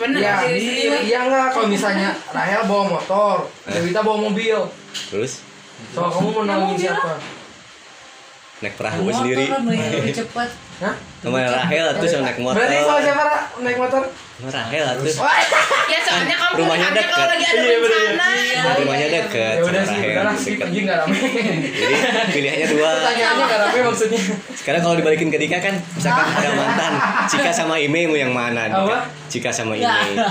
Speaker 3: Bener
Speaker 1: Ya,
Speaker 3: diri
Speaker 1: iya
Speaker 3: sendiri.
Speaker 1: iya enggak kalau misalnya Rahel bawa motor,
Speaker 2: Eh.
Speaker 1: Dewita bawa mobil.
Speaker 2: Terus
Speaker 1: Soal kamu mau nolongin siapa?
Speaker 2: naik perahu sendiri.
Speaker 4: Motor kan lebih cepat.
Speaker 1: Hah?
Speaker 2: Kemarin Rahel tuh sama naik motor.
Speaker 1: Berarti sama siapa Oh, Ra? naik motor?
Speaker 2: Sama Rahel tuh.
Speaker 1: Wah,
Speaker 3: Ya soalnya kamu
Speaker 2: Rumahnya
Speaker 3: ada kalau
Speaker 2: dekat.
Speaker 3: lagi ada
Speaker 1: Iya, bener.
Speaker 3: bencana.
Speaker 2: Rumahnya
Speaker 1: ya
Speaker 2: deket sama
Speaker 1: udah sih,
Speaker 2: Rahel.
Speaker 1: udah lah skip
Speaker 2: deket.
Speaker 1: aja nggak rame.
Speaker 2: Jadi pilihannya dua.
Speaker 1: Pertanyaannya nggak rame maksudnya.
Speaker 2: Sekarang kalau dibalikin ke Dika kan misalkan ada mantan, Cika sama Ime mau yang mana? Dika?
Speaker 1: Apa?
Speaker 2: Cika sama Ime.
Speaker 3: Iya.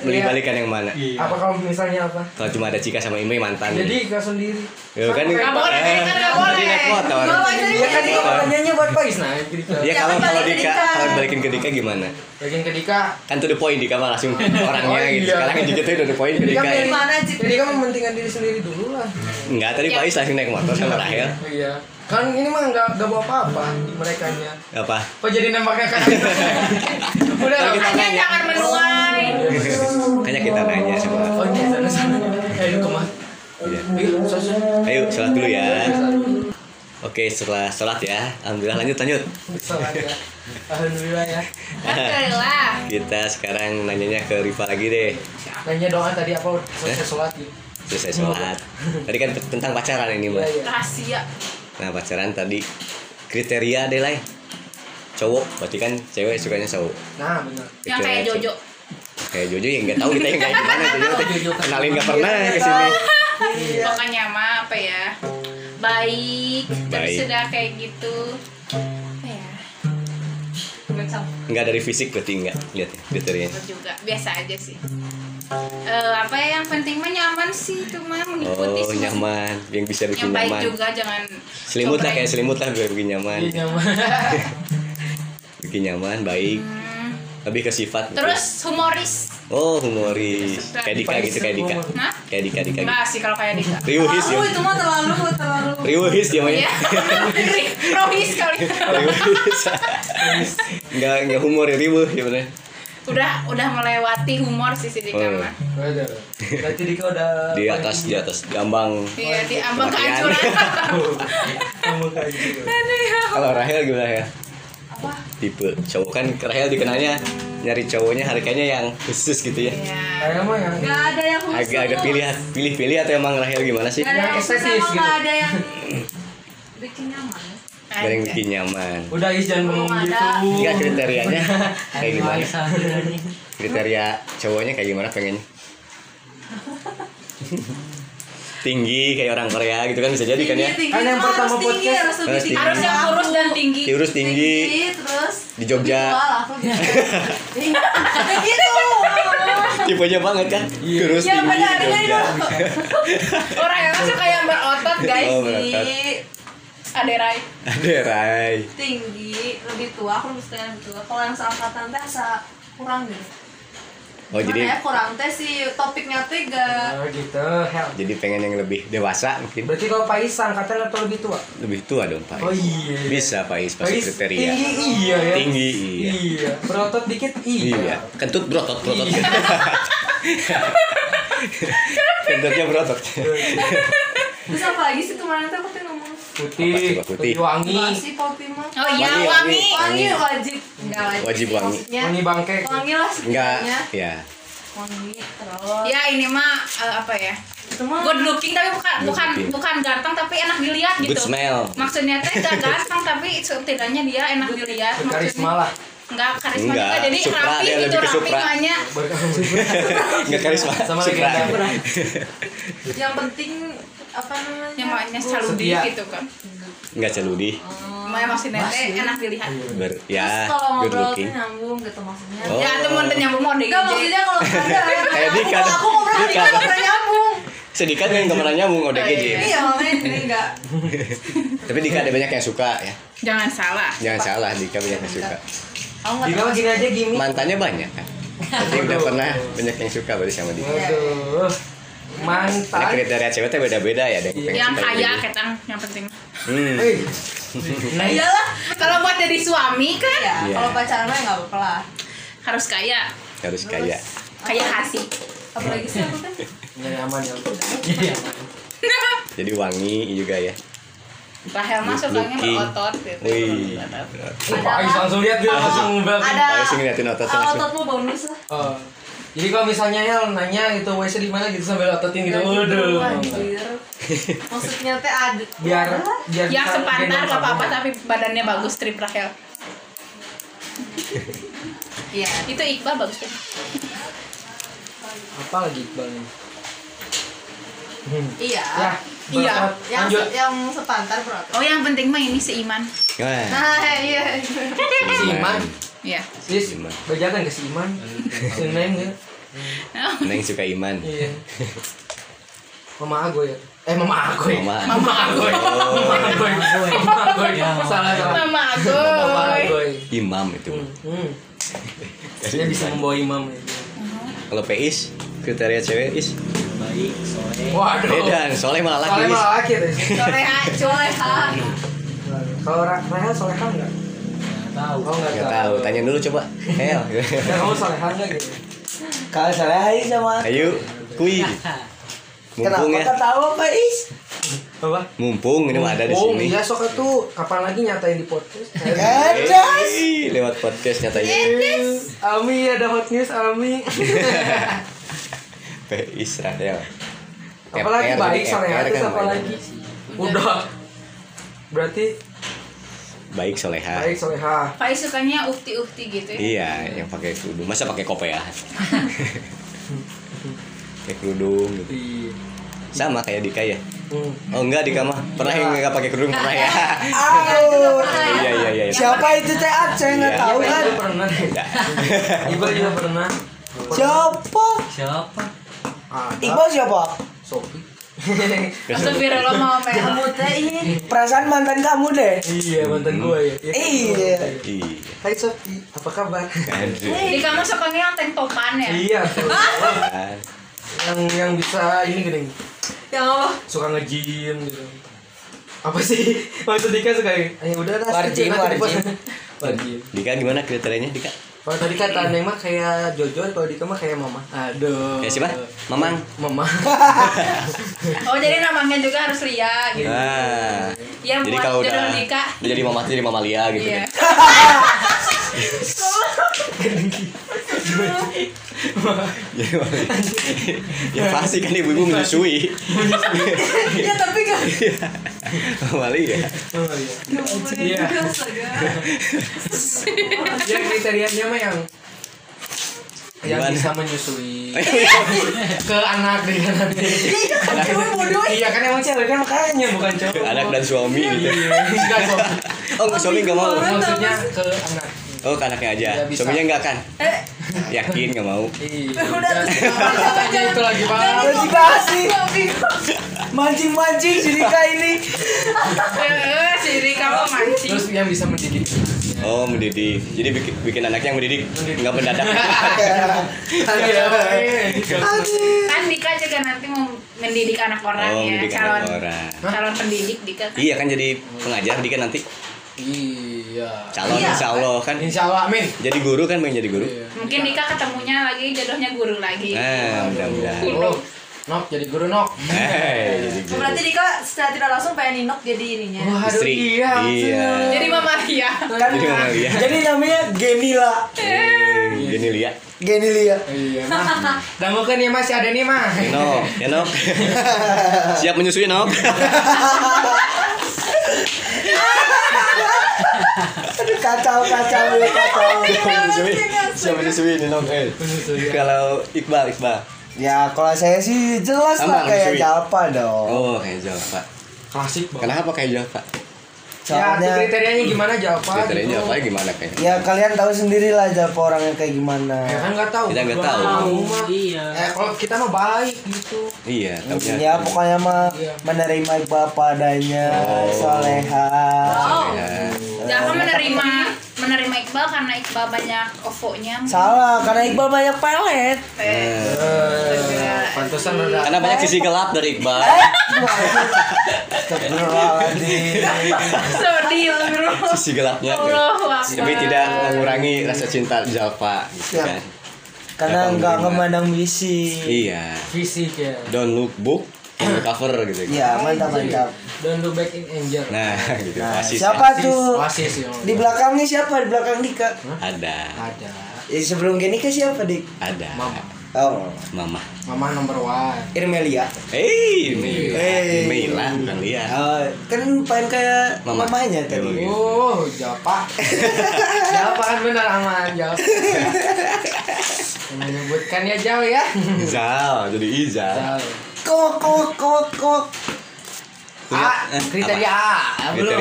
Speaker 2: Mau dibalikan yang mana?
Speaker 1: Apa kalau misalnya apa?
Speaker 2: Kalau cuma ada Cika sama Ime mantan.
Speaker 1: Jadi kau sendiri.
Speaker 2: Ya kan
Speaker 3: Nggak boleh,
Speaker 2: eh,
Speaker 3: kan nggak boleh.
Speaker 2: tadi naik motor.
Speaker 1: Iya kan ini pertanyaannya buat Pais nah. jadi kita-
Speaker 2: Ya kalau kalau Dika, kalau dibalikin ke Dika gimana?
Speaker 1: Bagian ketika
Speaker 2: Kan to the point Dika mah langsung orangnya
Speaker 1: Oh,
Speaker 2: gitu.
Speaker 1: iya.
Speaker 2: Sekarang juga tuh to the point ke
Speaker 1: Jadi
Speaker 2: Dika.
Speaker 1: kamu
Speaker 2: ya.
Speaker 1: mana sih? Jadi kamu mementingkan diri sendiri dulu lah.
Speaker 2: Enggak, tadi Faiz langsung naik motor sama Rahel.
Speaker 1: Iya. Kan ini mah nggak nggak bawa apa-apa mereka nya.
Speaker 2: Apa?
Speaker 1: Kok jadi nembaknya kan? Udah lah.
Speaker 3: Hanya jangan menuai.
Speaker 2: Kayak kita nanya sama.
Speaker 1: Oh di sana sana.
Speaker 2: Eh,
Speaker 1: Kayak itu mah.
Speaker 2: Iya.
Speaker 1: Yuk, sosok.
Speaker 2: Ayo sholat dulu ya. Oke, setelah sholat ya. Alhamdulillah lanjut lanjut.
Speaker 1: Salah ya. Alhamdulillah ya.
Speaker 3: Alhamdulillah.
Speaker 2: Kita sekarang nanyanya ke Riva lagi deh.
Speaker 1: Nanya doa tadi apa
Speaker 2: Eh?
Speaker 1: selesai sholat gitu.
Speaker 2: Selesai sholat. Tadi kan tentang pacaran ini,
Speaker 1: Iya
Speaker 2: Mas.
Speaker 1: iya.
Speaker 3: Rahasia.
Speaker 2: Nah, pacaran tadi kriteria deh lah. Cowok, berarti kan cewek sukanya cowok.
Speaker 1: Nah benar.
Speaker 3: Yang kayak
Speaker 2: Iya.
Speaker 3: Jojo.
Speaker 2: Kayak Jojo yang nggak tahu kita yang kayak gimana Jojo. teh. Kenalin nggak pernah ya ke sini. Iya.
Speaker 3: Pokoknya mah apa ya? Baik. Tapi
Speaker 2: Baik.
Speaker 3: sudah kayak gitu. Apa ya? Mencang.
Speaker 2: Nggak dari fisik berarti nggak lihat ya, kriterianya.
Speaker 3: Bener juga biasa aja sih Eh, apa ya yang penting mah nyaman sih itu mah mengikuti
Speaker 2: Oh,
Speaker 3: semua.
Speaker 2: nyaman. Yang bisa
Speaker 3: yang
Speaker 2: bikin
Speaker 3: baik
Speaker 2: nyaman.
Speaker 3: juga jangan
Speaker 2: Selimut lah
Speaker 3: cobrek.
Speaker 2: kayak selimut lah biar bikin nyaman.
Speaker 1: Iya nyaman.
Speaker 2: Bikin nyaman, baik.
Speaker 3: Hmm.
Speaker 2: Lebih ke sifat. gitu.
Speaker 3: terus humoris
Speaker 2: Oh humoris
Speaker 3: Terus-
Speaker 2: Kayak Dika gitu kayak Dika
Speaker 3: Hah?
Speaker 2: Kayak Dika Dika gitu.
Speaker 3: enggak sih kalau kayak Dika
Speaker 2: Riuhis ya
Speaker 5: Terlalu itu mah terlalu terlalu.
Speaker 2: Riuhis dia
Speaker 3: ya
Speaker 2: mainnya
Speaker 3: rohis kali
Speaker 2: Riuhis Enggak enggak humor ya riuh gimana
Speaker 3: udah udah melewati humor sih si Dika
Speaker 2: Oh.
Speaker 3: mah
Speaker 1: Udah. Berarti Dika udah.
Speaker 2: Di atas di atas gambang
Speaker 3: iya di ambang
Speaker 2: Kematian.
Speaker 3: kehancuran
Speaker 1: Kamu kayak gitu.
Speaker 3: Aduh, ya Allah.
Speaker 2: Kalau Rahel gimana ya
Speaker 3: apa
Speaker 2: Tipe cowok kan Rahel dikenalnya Nyari cowoknya harganya yang khusus gitu ya
Speaker 3: ya
Speaker 1: Kayak mah yang
Speaker 5: Gak ada yang khusus.
Speaker 2: Agak ada pilihan Pilih-pilih atau emang Rahel gimana sih
Speaker 5: Gak ada yang khusus
Speaker 1: estetis
Speaker 5: sama
Speaker 1: gitu.
Speaker 5: gak ada yang bikin nyaman.
Speaker 2: Biar yang bikin nyaman
Speaker 1: udah is jangan
Speaker 3: Belum
Speaker 1: ngomong
Speaker 3: ada.
Speaker 1: gitu.
Speaker 2: Enggak kriterianya Kayak gimana kriteria cowoknya kayak gimana pengennya tinggi kayak orang Korea gitu kan bisa jadi kan ya
Speaker 5: tinggi,
Speaker 1: Kan yang
Speaker 5: cuma
Speaker 1: pertama
Speaker 5: Iya, harus tinggi,
Speaker 1: podcast. kan?
Speaker 5: harus lebih
Speaker 2: Harus
Speaker 5: tinggi.
Speaker 3: harus yang kurus dan tinggi
Speaker 2: diurus tinggi
Speaker 5: terus
Speaker 2: di Jogja
Speaker 5: Wah, aku gitu. Kayak gitu.
Speaker 2: tipenya banget kan diurus
Speaker 5: Ya
Speaker 2: tinggi
Speaker 5: benar
Speaker 2: di
Speaker 5: dengar
Speaker 2: Jogja
Speaker 5: dulu.
Speaker 3: orang yang suka yang berotot guys
Speaker 2: Oh,
Speaker 3: si
Speaker 2: berotot.
Speaker 3: Aderai
Speaker 2: ada Rai
Speaker 5: Tinggi, lebih tua, aku lebih suka yang lebih tua. Kalau yang seangkatan teh asa kurang gitu.
Speaker 2: oh jadi
Speaker 5: Mana ya, kurang teh sih topiknya tiga.
Speaker 1: Oh gitu. Hel.
Speaker 2: jadi pengen yang lebih dewasa mungkin
Speaker 1: Berarti kalau Pais angkatan atau lebih tua?
Speaker 2: lebih tua dong Pak
Speaker 1: Oh iya.
Speaker 2: bisa Pak Is pasti kriteria
Speaker 1: Tinggi iya ya.
Speaker 2: tinggi iya
Speaker 1: Iya. Berotot dikit iya.
Speaker 2: iya kentut berotot berotot kentutnya berotot
Speaker 5: Terus apa lagi sih kemarin tuh aku tuh ngomong
Speaker 1: Putih,
Speaker 2: Apa sih, Pak?
Speaker 1: putih,
Speaker 2: Putih.
Speaker 1: wangi,
Speaker 5: Gak sih kopi mah
Speaker 3: oh iya
Speaker 2: Wangi, wangi.
Speaker 3: wangi
Speaker 5: Wangi wajib Enggak wajib
Speaker 2: Wajib
Speaker 5: sih,
Speaker 2: wangi.
Speaker 5: maksudnya
Speaker 1: ya. wangi bangke.
Speaker 5: Wangi lah
Speaker 2: enggak
Speaker 5: setidaknya
Speaker 2: ya
Speaker 5: Wangi terus
Speaker 3: ya ini mah eh, apa ya
Speaker 5: Itu mah
Speaker 3: good looking tapi bukan
Speaker 2: Good
Speaker 3: bukan
Speaker 2: looking.
Speaker 3: bukan ganteng tapi enak dilihat gitu
Speaker 2: good smell
Speaker 3: maksudnya teh gak ganteng tapi setidaknya dia enak dilihat
Speaker 1: Karisma
Speaker 3: maksudnya
Speaker 1: lah.
Speaker 3: nggak karisma
Speaker 2: Enggak,
Speaker 3: juga jadi
Speaker 2: Supra,
Speaker 3: rapi
Speaker 2: dia
Speaker 3: gitu
Speaker 2: lebih ke
Speaker 3: rapi
Speaker 2: Supra.
Speaker 3: hanya
Speaker 2: nggak karisma
Speaker 1: Sama
Speaker 2: Supra.
Speaker 1: legenda.
Speaker 5: Yang penting Apa namanya
Speaker 3: yang makanya Ya, saludi
Speaker 1: Oh, Setia.
Speaker 3: gitu kan
Speaker 2: nggak celudi
Speaker 3: Makanya maksudnya teh enak dilihat
Speaker 2: Ber-
Speaker 5: Terus
Speaker 2: ya
Speaker 5: kalau
Speaker 2: good
Speaker 5: ngobrol tuh
Speaker 2: looking
Speaker 5: nyambung gitu maksudnya
Speaker 2: Oh.
Speaker 3: ya temen temen nyambung mau deh
Speaker 5: Enggak maksudnya kalau ada
Speaker 2: Kayak Dika
Speaker 5: aku- Aku ngobrol
Speaker 2: Dika.
Speaker 5: sama Dika nggak pernah nyambung
Speaker 2: sedikit kan nggak pernah nyambung ODGJ
Speaker 3: Iya.
Speaker 5: Iya makanya jadi enggak
Speaker 2: tapi Dika ada banyak yang suka ya
Speaker 3: jangan salah
Speaker 2: jangan salah Dika banyak yang suka
Speaker 5: Aku nggak
Speaker 1: Dika mah gini aja gini.
Speaker 2: mantannya banyak kan jadi udah pernah banyak yang suka berarti sama Dika
Speaker 1: Aduh.
Speaker 2: karena
Speaker 1: Mantan.
Speaker 2: kriteria cewek tuh beda-beda ya ada
Speaker 1: Iya.
Speaker 2: yang pengen
Speaker 3: yang
Speaker 2: suka
Speaker 3: kaya
Speaker 2: gini.
Speaker 3: ketang yang penting
Speaker 2: hmm.
Speaker 1: Wih. Naik.
Speaker 5: Iyalah
Speaker 3: kalau buat jadi suami kan
Speaker 5: Iya
Speaker 2: Iya.
Speaker 5: Kalau pacaran mah ya nggak apa-apa lah
Speaker 3: harus kaya
Speaker 2: harus kaya
Speaker 3: kaya hati
Speaker 5: Apalagi sih aku kan tuh
Speaker 1: Ya aman ya.
Speaker 2: jadi wangi juga
Speaker 1: Iya.
Speaker 2: ya
Speaker 3: Rahel mah
Speaker 2: Good
Speaker 3: sukanya
Speaker 2: looking.
Speaker 3: berotot gitu
Speaker 2: wih
Speaker 1: Pais langsung lihat dia langsung berarti.
Speaker 5: Ada
Speaker 2: Pais ngeliatin ototnya
Speaker 5: Kalau
Speaker 2: langsung
Speaker 5: otot lu bonus lah
Speaker 1: Oh. Jadi kalau misalnya Hel nanya itu WC di mana gitu sambil ototin gitu.
Speaker 5: Gitu,
Speaker 1: Waduh.
Speaker 5: anjir. Maksudnya teh ada
Speaker 1: Biar biar
Speaker 3: yang
Speaker 1: bisa
Speaker 3: sepantar
Speaker 1: gendong
Speaker 3: gak apa-apa
Speaker 1: kamu.
Speaker 3: tapi badannya bagus strip Rahel
Speaker 5: Iya, itu Iqbal bagus deh.
Speaker 1: Apa lagi Iqbal nih? Hmm.
Speaker 7: Iya.
Speaker 1: Nah,
Speaker 7: Iya,
Speaker 1: berangkat.
Speaker 7: yang
Speaker 1: lanjut.
Speaker 7: se- yang sepantar berapa?
Speaker 3: Oh yang penting mah ini seiman.
Speaker 2: Wah,
Speaker 7: Nah, iya.
Speaker 1: Si Iman,
Speaker 3: Iya.
Speaker 1: sis,
Speaker 2: Iman.
Speaker 1: bajakan ke si Iman. Si Neng ya.
Speaker 2: Neng suka iman.
Speaker 1: Iya. Mama Agoy ya. Eh Mama Agoy.
Speaker 2: Mama. Oh,
Speaker 1: Mama Agoy. Mama Agoy. Mama Agoy. Salah salah.
Speaker 3: Mama
Speaker 1: Mama
Speaker 3: Agoy.
Speaker 1: Agoy.
Speaker 2: Imam itu.
Speaker 1: Hmm, Hmm. Dia bisa membawa imam. ya.
Speaker 2: Kalau PIS kriteria cewek is
Speaker 4: Baik, soleh.
Speaker 2: Oh.
Speaker 1: Waduh.
Speaker 2: beda, soleh malah laki.
Speaker 1: Oh. Soalnya
Speaker 2: Is.
Speaker 1: malah laki tuh.
Speaker 7: Soleha, soleha.
Speaker 1: Kalau Ra- Rahel soleha enggak?
Speaker 4: Tahu.
Speaker 1: Oh enggak
Speaker 2: Nggak tahu, tanya dulu coba. Hel.
Speaker 1: Ya kamu soleha enggak gitu?
Speaker 6: Kalau salah Hai sama
Speaker 2: Ayo, kui. Mumpung
Speaker 6: Kenapa
Speaker 2: ya,
Speaker 6: kau tahu apa Is?
Speaker 1: Apa?
Speaker 2: mumpung ini mah ada di
Speaker 1: Oh,
Speaker 2: sini.
Speaker 1: iya sok itu kapan lagi nyatain di podcast?
Speaker 6: Gajas
Speaker 2: Yeay, lewat podcast nyatanya
Speaker 1: Ami ada hot news Ami.
Speaker 2: PIS Rahel.
Speaker 1: apalagi
Speaker 2: FR,
Speaker 1: baik
Speaker 2: jadi
Speaker 1: soleha
Speaker 2: FR
Speaker 1: terus
Speaker 2: kan
Speaker 1: apalagi? Udah. Berarti
Speaker 2: Baik soleha.
Speaker 1: baik soleha.
Speaker 5: Faiz sukanya ukti-ukti gitu ya.
Speaker 2: Iya, yang pakai kerudung. Masa pakai kopiah? pakai kerudung gitu.
Speaker 1: Iya.
Speaker 2: Sama kayak Dika ya.
Speaker 1: Hmm.
Speaker 2: Oh enggak Dika mah. Pernah yang enggak pakai kerudung pernah ya.
Speaker 6: Aduh
Speaker 2: Iya iya iya.
Speaker 6: Siapa itu teh Aceh nggak
Speaker 2: Iya.
Speaker 6: tahu
Speaker 1: Iqbal
Speaker 6: kan
Speaker 1: juga pernah. Iqbal juga pernah.
Speaker 6: Siapa?
Speaker 4: Siapa?
Speaker 1: Ada
Speaker 6: Iqbal siapa?
Speaker 1: Ah, Sophie.
Speaker 5: Astagfirullah mau ya?
Speaker 7: Kamu teh
Speaker 5: iya.
Speaker 7: ini.
Speaker 6: Perasaan mantan kamu deh
Speaker 1: iya mantan gue ya.
Speaker 6: Iya.
Speaker 2: Hmm. Iya.
Speaker 1: Hai Sophie, apa kabar?
Speaker 2: Aduh.
Speaker 5: Di kamu sukanya yang tengkopan ya?
Speaker 1: Iya. Sophie.
Speaker 2: kan.
Speaker 1: yang yang bisa ini gini
Speaker 7: Yang apa?
Speaker 1: suka nge-gym gitu. Apa sih? Maksud Dika suka yang "Ayo, udah lah.
Speaker 6: Warjim,
Speaker 1: skip, nanti
Speaker 6: warjim.
Speaker 1: pas." Warjim.
Speaker 2: Dika gimana kriterianya Dika?
Speaker 1: Kalau tadi kata Neng mah kayak Jojo, kalau Dika mah kayak Mama. Aduh.
Speaker 2: Kayak siapa?
Speaker 5: Eh,
Speaker 2: Mamang.
Speaker 1: Mama.
Speaker 5: Oh jadi namanya juga harus Lia gitu.
Speaker 2: Nah.
Speaker 5: Ya
Speaker 2: Jadi
Speaker 5: buat
Speaker 2: kalau
Speaker 5: jodoh
Speaker 2: udah
Speaker 5: Dika.
Speaker 2: udah jadi mama tuh jadi mama Lia gitu.
Speaker 5: Iya.
Speaker 2: kan. Jadi mama Lia. ya pasti kan ibu-ibu menyusui.
Speaker 7: Ya tapi kan.
Speaker 2: mama Lia.
Speaker 1: Oh iya. Iya. Ya kriterianya mah yang yang
Speaker 2: Gimana? Oh, iya.
Speaker 1: bisa menyusui ke anak dengan nanti. Iya kan emang cewek kan makanya bukan cowok.
Speaker 2: Anak dan suami gitu.
Speaker 1: Iya, enggak kok.
Speaker 2: Oh, suami nggak mau.
Speaker 1: Maksudnya ke anak.
Speaker 2: Oh, ke anaknya aja.
Speaker 1: Nggak bisa. Eh.
Speaker 2: Suaminya nggak kan? Yakin nggak mau.
Speaker 1: Iya.
Speaker 7: Udah terus.
Speaker 1: Makanya itu lagi banget.
Speaker 6: Terus dikasih Iya Mancing-mancing si Dika ini
Speaker 3: Eh, si Rika mau mancing.
Speaker 1: Terus yang bisa mendidik.
Speaker 2: Oh, mendidik. Jadi bikin, bikin anaknya yang mendidik nggak mendadak.
Speaker 1: ya, Iya.
Speaker 3: Kan Dika juga nanti mau mendidik anak orang
Speaker 2: oh,
Speaker 3: ya.
Speaker 2: mendidik
Speaker 3: calon
Speaker 2: anak orang.
Speaker 3: calon pendidik Dika.
Speaker 2: Iya kan jadi pengajar Dika nanti
Speaker 1: Iya.
Speaker 2: calon insya Allah kan
Speaker 1: Insya Allah amin.
Speaker 2: jadi guru kan pengen jadi guru.
Speaker 1: Iya.
Speaker 3: Mungkin Dika ketemunya lagi jodohnya guru lagi.
Speaker 2: Nah, mudah-mudahan.
Speaker 1: Oh, Nok jadi guru Nok.
Speaker 2: Hei, jadi guru.
Speaker 7: Oh, Berarti Dika secara tidak langsung pengen inok jadi ininya.
Speaker 1: Wah, aduh,
Speaker 2: Istri.
Speaker 1: Iya.
Speaker 2: Iya.
Speaker 3: Jadi Mama Lia.
Speaker 6: Kan
Speaker 2: Jadi mama Lia.
Speaker 6: Jadi namanya Genila
Speaker 1: Eh.
Speaker 2: Gini Lia.
Speaker 6: Genilia
Speaker 1: Iya, mah. Dan mungkin ya masih ada nih, mah.
Speaker 2: No, ya Nok. Siap menyusui Nok.
Speaker 6: Aduh kacau kacau ya kacau
Speaker 2: Oh, iya, menyusui. Siap menyusui nih Nok. Eh. Kalau Iqbal, Iqbal.
Speaker 6: Ya kalau saya sih jelas
Speaker 2: Sama,
Speaker 6: lah kayak
Speaker 2: menyusui.
Speaker 6: Jalpa dong
Speaker 2: Oh, kayak Java.
Speaker 1: Klasik banget.
Speaker 2: Kenapa kayak Java?
Speaker 1: Ya, tuh
Speaker 6: Soalnya
Speaker 1: kriterianya gimana Gitu. jawaban?
Speaker 2: Kriterianya Java gimana kayak?
Speaker 6: Ya kalian tahu sendiri lah Jalpa orangnya kayak gimana
Speaker 1: Ya kan nggak tahu.
Speaker 2: Kita nggak tahu.
Speaker 1: Tahu, mah.
Speaker 4: Iya.
Speaker 1: Eh, kalau kita mah baik gitu.
Speaker 2: Iya, taunya.
Speaker 6: Ya pokoknya mah
Speaker 1: Iya.
Speaker 6: menerima apa adanya Soleha
Speaker 3: Oh.
Speaker 2: Ya.
Speaker 3: Jaka menerima menerima Iqbal karena Iqbal banyak OVO-nya.
Speaker 6: Salah karena Iqbal banyak pelet
Speaker 2: Eh,
Speaker 1: Eh, pantesan ada.
Speaker 2: Karena banyak sisi gelap dari Iqbal.
Speaker 6: Astagfirullahaladzim
Speaker 3: Sorry, bro.
Speaker 2: Sisi gelapnya.
Speaker 3: Allah,
Speaker 2: Tapi tidak mengurangi rasa cinta Jalva gitu
Speaker 6: Siap.
Speaker 2: kan.
Speaker 6: Karena
Speaker 2: Siapa
Speaker 6: nggak
Speaker 2: menerima?
Speaker 6: memandang misi
Speaker 2: Iya.
Speaker 1: Fisik ya.
Speaker 2: Don't look book, look cover gitu.
Speaker 6: Iya mantap mantap
Speaker 1: Don't look back in anger.
Speaker 2: Nah, gitu.
Speaker 6: Nah,
Speaker 2: Oasis,
Speaker 6: siapa
Speaker 1: Oasis,
Speaker 6: tuh?
Speaker 1: Oasis ya.
Speaker 6: Di belakang nih siapa? Di belakang Dika Eh,
Speaker 2: ya. Ada.
Speaker 1: Ada.
Speaker 6: Ya sebelum Genika siapa Dik?
Speaker 2: Ada.
Speaker 1: Mama.
Speaker 6: Oh.
Speaker 2: Mama.
Speaker 1: Mama nomor one.
Speaker 6: Irmelia.
Speaker 2: Hei, Mila.
Speaker 6: Hey.
Speaker 2: Mila bukan Lia.
Speaker 6: Oh, kan pengen kayak
Speaker 2: Mama.
Speaker 6: mamanya tadi.
Speaker 2: Biologi.
Speaker 1: Oh, Japa. Japa kan benar aman, Japa. Menyebutkan ya jauh ya.
Speaker 2: Izal, jadi Izal.
Speaker 1: Jauh.
Speaker 6: Kok kok kok kok.
Speaker 2: Punya-
Speaker 1: A,
Speaker 2: eh,
Speaker 1: kriteria
Speaker 2: apa?
Speaker 1: A. Belum.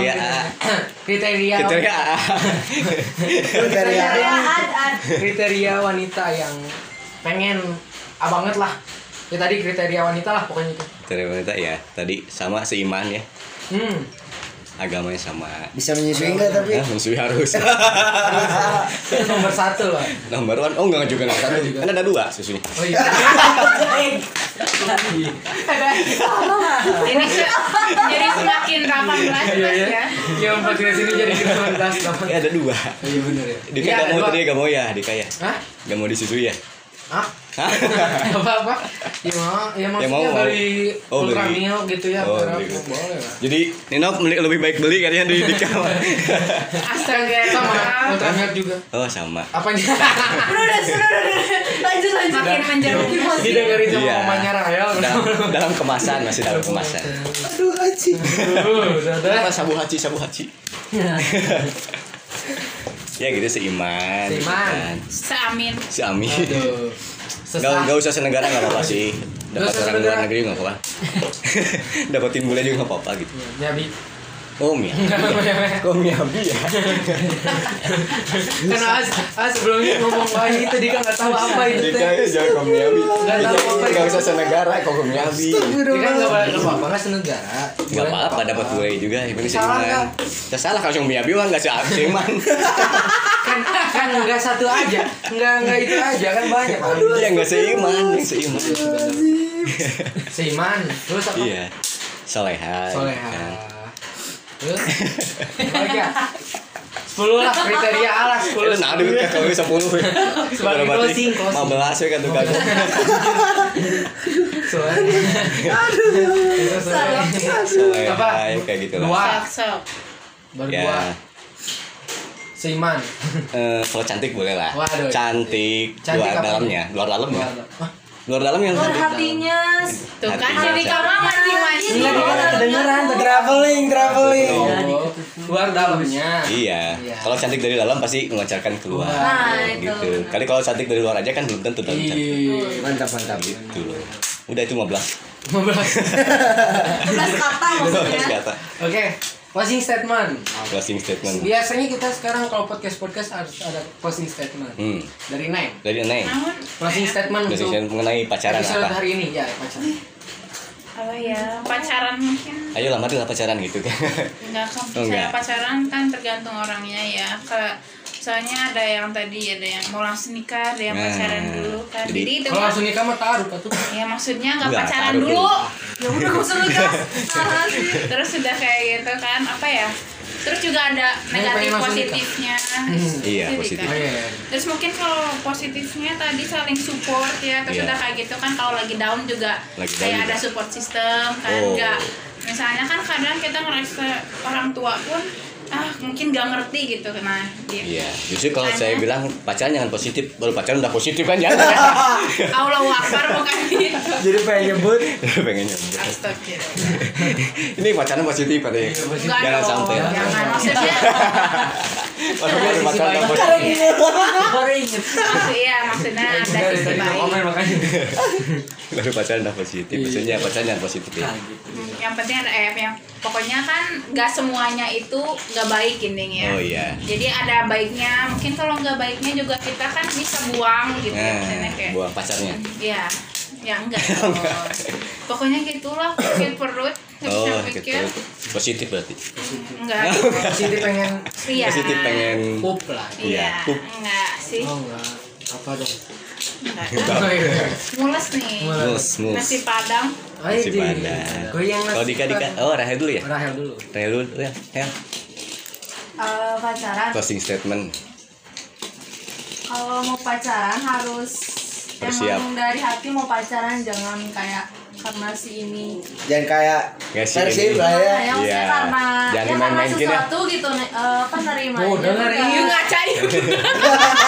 Speaker 2: Kriteria A.
Speaker 1: kriteria
Speaker 2: Kriteria A.
Speaker 6: Dari
Speaker 7: Kriteria
Speaker 6: ada.
Speaker 7: Ya, ad ad
Speaker 1: kriteria wanita yang pengen ah, banget lah. Ya tadi kriteria wanita lah pokoknya itu.
Speaker 2: Kriteria wanita ya. Tadi sama seiman ya.
Speaker 1: Hmm.
Speaker 2: Agamanya sama.
Speaker 6: Bisa menyusui enggak tapi?
Speaker 2: Ya, musuhi harus.
Speaker 1: Itu nomor satu lah.
Speaker 2: Nomor one, oh enggak juga enggak satu. Kan ada dua susunya.
Speaker 1: Oh iya.
Speaker 3: Ini se- jadi
Speaker 2: Iya,
Speaker 3: semakin 18 ya.
Speaker 1: Iya, Yang pakai sini jadi nomor belas
Speaker 2: Ya ada dua.
Speaker 1: Iya benar ya.
Speaker 2: Dika
Speaker 1: Iya,
Speaker 2: nggak
Speaker 1: ada
Speaker 2: mau
Speaker 1: dua.
Speaker 2: tadi nggak mau ya, Dika ya.
Speaker 1: Hah?
Speaker 2: Nggak mau disusui ya.
Speaker 1: Hah?
Speaker 2: Hah?
Speaker 1: apa apa ya mau ya maksudnya
Speaker 2: mau, mau.
Speaker 1: beli
Speaker 2: Oh,
Speaker 1: ultra
Speaker 2: beli.
Speaker 1: milk gitu ya
Speaker 2: Oh,
Speaker 1: berapa?
Speaker 2: beli.
Speaker 1: boleh lah
Speaker 2: Jadi Nino beli- lebih baik beli kayaknya di Dika.
Speaker 3: Astaga.
Speaker 1: sama
Speaker 3: maaf.
Speaker 1: ultra milk juga
Speaker 2: oh sama.
Speaker 1: apanya
Speaker 7: Udah udah sudah udah udah. Lanjut lanjut
Speaker 3: Makin menjerumus.
Speaker 1: didengerin sama
Speaker 2: Iya.
Speaker 1: mamanya Rahel
Speaker 2: Dalam, dalam kemasan masih dalam kemasan.
Speaker 6: Aduh anjing.
Speaker 1: udah udah Iya.
Speaker 2: Apa sabu haji sabu haji? ya gitu seiman. gitu
Speaker 1: Seiman.
Speaker 2: kan.
Speaker 3: Seamin.
Speaker 2: Si Ami.
Speaker 1: Aduh.
Speaker 2: Gak,
Speaker 1: sesah
Speaker 2: gak usah senegara gak apa-apa sih Dapat
Speaker 1: usah
Speaker 2: orang luar
Speaker 1: senegara.
Speaker 2: negeri gak apa-apa Dapetin bule juga gak apa-apa gitu
Speaker 1: ya bi
Speaker 2: Oh Miabi Kok Miabi ya?
Speaker 1: karena as, as sebelumnya ngomong bayi itu dia nggak tahu apa
Speaker 2: Jadi
Speaker 1: itu teh
Speaker 2: kayaknya jangan kok Miabi
Speaker 1: Gak Iya. tahu apa-apa.
Speaker 2: Gak usah senegara kok ke Miabi
Speaker 1: dia kan nggak boleh nggak apa-apa nggak senegara
Speaker 2: Gak apa-apa dapat bule juga Yang penting
Speaker 1: Salah
Speaker 2: seiman
Speaker 1: nggak?
Speaker 2: Ya salah kalau cuma Miabi mah gak sih seiman
Speaker 1: kan kan nggak satu aja nggak nggak itu aja kan banyak
Speaker 2: Iya gak seiman Yang seiman
Speaker 1: Iya. seiman terus apa
Speaker 2: Iya Soleha
Speaker 1: Soleha.
Speaker 2: kan.
Speaker 1: Terus? Lagi ya? Sepuluh lah kriteria A lah sepuluh.
Speaker 2: Itu nadu kan kalau 10 ya.
Speaker 1: Iya. Sebagai
Speaker 2: Berarti
Speaker 1: closing, closing.
Speaker 2: 15 ya kan tuh kagak.
Speaker 1: Soalnya. Terus, soalnya. Apa?
Speaker 2: Soleha ya, kayak gitu lah
Speaker 1: Dua.
Speaker 3: Sok-sok.
Speaker 1: Baru
Speaker 2: Ya.
Speaker 1: dua. Seiman.
Speaker 2: Eh, kalau cantik boleh lah.
Speaker 1: Waduh.
Speaker 2: Cantik,
Speaker 1: Cantik
Speaker 2: luar
Speaker 1: apa?
Speaker 2: dalamnya, luar dalam ya.
Speaker 1: Hah?
Speaker 2: Luar dalam yang
Speaker 7: Luar hatinya
Speaker 3: Tuh kan
Speaker 2: Hati.
Speaker 3: jadi kamu masing-masing.
Speaker 1: Enggak dia
Speaker 5: Iya.
Speaker 1: kan kedengeran tadi.
Speaker 6: Traveling, traveling.
Speaker 1: Oh, Luar dalamnya.
Speaker 2: Iya.
Speaker 1: Iya.
Speaker 2: Kalau cantik dari dalam pasti memancarkan keluar.
Speaker 1: Nah,
Speaker 7: itu.
Speaker 2: gitu. Kali kalau cantik dari luar aja kan belum tentu dalam
Speaker 1: Iya.
Speaker 2: cantik.
Speaker 1: Ih,
Speaker 6: Mantap, mantap.
Speaker 2: Gitu loh. Udah itu 15.
Speaker 1: 15.
Speaker 7: 12 kata maksudnya
Speaker 2: 15 kata.
Speaker 1: Oke, closing statement.
Speaker 2: Closing statement.
Speaker 1: Biasanya kita sekarang kalau podcast podcast harus ada closing statement.
Speaker 2: Hmm.
Speaker 1: Dari Neng.
Speaker 2: Dari Neng.
Speaker 3: Namun ya.
Speaker 1: Closing statement
Speaker 2: Closing
Speaker 1: untuk
Speaker 2: statement mengenai pacaran
Speaker 1: episode
Speaker 2: apa?
Speaker 1: hari ini ya, pacaran.
Speaker 3: apa ya pacaran mungkin
Speaker 2: Ayo lamarin lah pacaran gitu kan.
Speaker 3: nggak kan
Speaker 2: Oh,
Speaker 3: misalnya
Speaker 2: nggak.
Speaker 3: pacaran kan tergantung orangnya ya kalau misalnya ada yang tadi ada yang mau langsung nikah ada yang
Speaker 2: Nah,
Speaker 3: pacaran dulu kan
Speaker 2: jadi-
Speaker 3: jadi, itu
Speaker 1: Kalau
Speaker 3: kan-
Speaker 1: langsung nikah mah taruh Oh, tuh.
Speaker 3: ya maksudnya nggak
Speaker 2: Nggak,
Speaker 3: pacaran
Speaker 2: taruh
Speaker 3: dulu,
Speaker 2: dulu.
Speaker 7: Ya udah gak usah lu gas Parah sih
Speaker 3: terus sudah kayak gitu kan apa ya terus juga ada
Speaker 1: Yang pengen
Speaker 3: negatif
Speaker 1: langsung
Speaker 3: positifnya
Speaker 2: Iya,
Speaker 3: Gitu
Speaker 2: positif.
Speaker 1: Oh
Speaker 3: kan.
Speaker 1: iya. iya.
Speaker 3: terus mungkin kalau positifnya tadi saling support ya terus
Speaker 2: Iya.
Speaker 3: udah kayak gitu kan kalau lagi down juga
Speaker 2: Lagi down
Speaker 3: kayak
Speaker 2: juga.
Speaker 3: ada support system kan
Speaker 2: Oh.
Speaker 3: enggak misalnya kan kadang kita ngerasa orang tua pun ah mungkin gak ngerti gitu nah dia
Speaker 2: Iya, justru kalau saya
Speaker 3: Pacaran.
Speaker 2: bilang pacaran jangan positif, baru pacaran udah positif kan jangan.
Speaker 3: Allah wakbar bukan gitu
Speaker 6: Jadi pengen nyebut
Speaker 2: Pengen nyambut.
Speaker 3: Astagfirullah
Speaker 2: Ini pacaran positif katanya.
Speaker 3: Enggak
Speaker 2: Jangan
Speaker 3: dong,
Speaker 2: sampai. ya. lah.
Speaker 3: jangan maksudnya
Speaker 2: Orang baru pacaran nggak
Speaker 6: kalau
Speaker 2: positif.
Speaker 6: gini.
Speaker 1: Baru inget.
Speaker 3: maksud- iya maksudnya ada
Speaker 1: Dari
Speaker 3: sisi
Speaker 1: tadi nggak
Speaker 3: baik
Speaker 1: komen makanya.
Speaker 2: Baru pacaran udah positif.
Speaker 3: Iya.
Speaker 2: Maksudnya pacaran yang positif. ya.
Speaker 3: Hmm, yang penting ada eh, yang pokoknya kan nggak semuanya itu nggak baik endingnya
Speaker 2: Oh iya.
Speaker 3: jadi ada baiknya mungkin kalau nggak baiknya juga kita kan bisa buang gitu ya misalnya
Speaker 2: Nah,
Speaker 3: kayak
Speaker 2: buang pacarnya.
Speaker 3: ya ya enggak dong. pokoknya gitulah sakit perut nggak bisa
Speaker 2: Oh, gitu.
Speaker 3: pikir
Speaker 2: Positif berarti.
Speaker 3: enggak
Speaker 1: Siti pengen
Speaker 3: iya
Speaker 2: Positif pengen
Speaker 1: pup lah.
Speaker 3: iya
Speaker 2: Iya.
Speaker 3: enggak sih
Speaker 1: Oh enggak. Apa dong?
Speaker 3: enggak
Speaker 1: Oh iya.
Speaker 3: mules nih
Speaker 1: Mules.
Speaker 2: mus mus.
Speaker 3: nasi padang
Speaker 1: Ayo,
Speaker 2: Masih
Speaker 1: Di.
Speaker 2: pandang.
Speaker 1: Goyang
Speaker 2: Kalau
Speaker 1: nasi
Speaker 2: Dika Dika,
Speaker 1: padang.
Speaker 2: oh Rahel dulu ya.
Speaker 1: Rahel dulu.
Speaker 2: Rahel dulu ya. Rahel.
Speaker 7: Eh, Pacaran
Speaker 2: Closing statement.
Speaker 7: Kalau mau pacaran harus
Speaker 2: Harus
Speaker 7: Emang dari hati mau pacaran Jangan kayak karena si ini
Speaker 6: Jangan kayak
Speaker 2: Nggak sih,
Speaker 6: versi
Speaker 2: ini.
Speaker 6: lah
Speaker 7: Nah,
Speaker 6: ya.
Speaker 7: yang maksudnya
Speaker 2: Iya.
Speaker 7: karena
Speaker 2: Jangan
Speaker 7: ya karena
Speaker 2: main-main gini.
Speaker 7: sesuatu gitu eh, apa nerima
Speaker 1: Oh, dengerin.
Speaker 3: yuk ngaca yuk
Speaker 1: iya.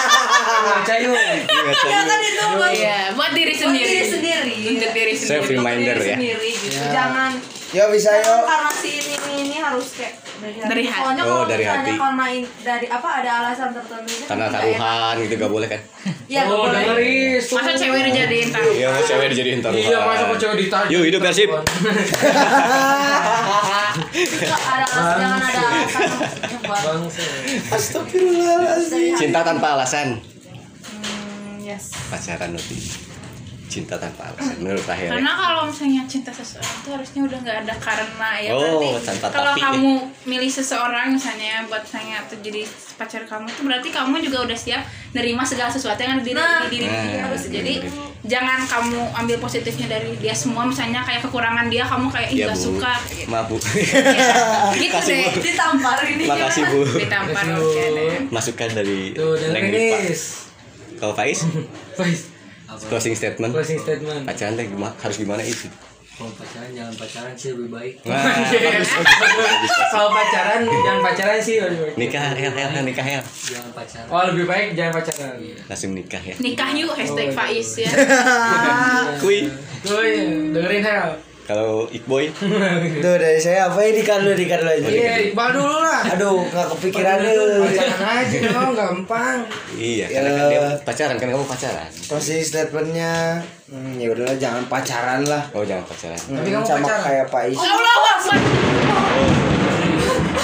Speaker 2: Cayung.
Speaker 7: Ya kan itu buat
Speaker 3: Iya, buat diri
Speaker 7: buat
Speaker 3: sendiri.
Speaker 7: diri sendiri. gitu.
Speaker 3: Untuk diri
Speaker 2: Self
Speaker 3: sendiri.
Speaker 2: reminder
Speaker 7: Diri
Speaker 2: ya.
Speaker 7: sendiri gitu. Jangan oh,
Speaker 6: Yo bisa yo.
Speaker 7: Karena- karena si ini ini, ini harus kayak
Speaker 3: Dari hati.
Speaker 7: Soalnya
Speaker 2: Oh,
Speaker 7: kalau
Speaker 2: dari
Speaker 7: misalnya
Speaker 2: hati.
Speaker 7: karena in- dari apa ada alasan tertentu itu
Speaker 2: Karena
Speaker 7: nggak enak.
Speaker 2: taruhan gitu gak boleh kan?
Speaker 7: Iya, nggak
Speaker 1: Oh,
Speaker 7: boleh.
Speaker 1: dengeris. tuh.
Speaker 3: Masa cewek dijadiin taruh?
Speaker 2: Iya, mau cewek dijadiin taruhan.
Speaker 1: Iya, masa mau cewek ditarik?
Speaker 2: Yuk, hidup Persib.
Speaker 7: Nggak ada alasan, jangan ada alasan maksudnya buat
Speaker 1: Bangsa.
Speaker 7: dari hati.
Speaker 2: Cinta tanpa alasan.
Speaker 7: Hmm, yes.
Speaker 2: Pacaran lebih. Cinta tanpa alasan menurut Tahir.
Speaker 3: Karena kalau misalnya cinta seseorang itu harusnya udah nggak ada karena ya
Speaker 2: Oh,
Speaker 3: berarti
Speaker 2: tanpa
Speaker 3: kalau
Speaker 2: tapi ya.
Speaker 3: kamu milih seseorang misalnya buat misalnya atau jadi pacar kamu itu berarti kamu juga udah siap nerima segala sesuatu yang ada di diri,
Speaker 7: Nah,
Speaker 3: di diri
Speaker 2: nah,
Speaker 3: dia. Terus
Speaker 2: bener,
Speaker 3: jadi
Speaker 2: bener.
Speaker 3: jangan kamu ambil positifnya dari dia semua misalnya kayak kekurangan dia kamu kayak ih
Speaker 2: Iya,
Speaker 3: gak
Speaker 2: Bu.
Speaker 3: suka kayak gitu.
Speaker 2: Maaf, Bu.
Speaker 3: Ya, gitu
Speaker 2: Makasih,
Speaker 3: deh.
Speaker 7: Ditampar ini.
Speaker 2: Makasih, Bu.
Speaker 3: Ditampar
Speaker 1: Makasih, Bu.
Speaker 3: oke deh.
Speaker 2: Masukan dari
Speaker 1: Tuh,
Speaker 2: Leng Ripa.
Speaker 1: dengeris.
Speaker 2: Kalau Faiz,
Speaker 1: Guys,
Speaker 2: closing statement.
Speaker 1: closing statement.
Speaker 2: Pacaran teh gimana- harus gimana itu?
Speaker 4: Kalau pacaran jangan pacaran sih lebih baik.
Speaker 1: Iya,
Speaker 2: Wah, Ah, bagus, bagus, bagus, bagus.
Speaker 1: Kalau pacaran jangan pacaran sih lebih baik.
Speaker 2: Nikah, el, el, el, nikah, el.
Speaker 4: Jangan pacaran.
Speaker 1: Oh, lebih baik jangan pacaran.
Speaker 2: Langsung nikah ya.
Speaker 3: nikah yuk hashtag Faiz ya
Speaker 1: Iya.
Speaker 2: Kui.
Speaker 1: Tuh, iya. dengerin Hel.
Speaker 2: Kalau Iqboy,
Speaker 6: Tuh dari saya apa ini kan lu dikan aja.
Speaker 1: Iya, Iqbal dulu lah.
Speaker 6: Aduh nggak kepikiran lu.
Speaker 1: Pacaran aja dong, gampang.
Speaker 2: iya, karena kan dia
Speaker 1: Eh.
Speaker 2: pacaran kan kamu pacaran.
Speaker 6: Closing statementnya hmm, ya udahlah jangan pacaran lah.
Speaker 2: Oh, jangan pacaran.
Speaker 6: Hmm,
Speaker 1: Tapi kamu
Speaker 6: sama
Speaker 1: pacaran?
Speaker 6: kayak Pais.
Speaker 3: Allah Akbar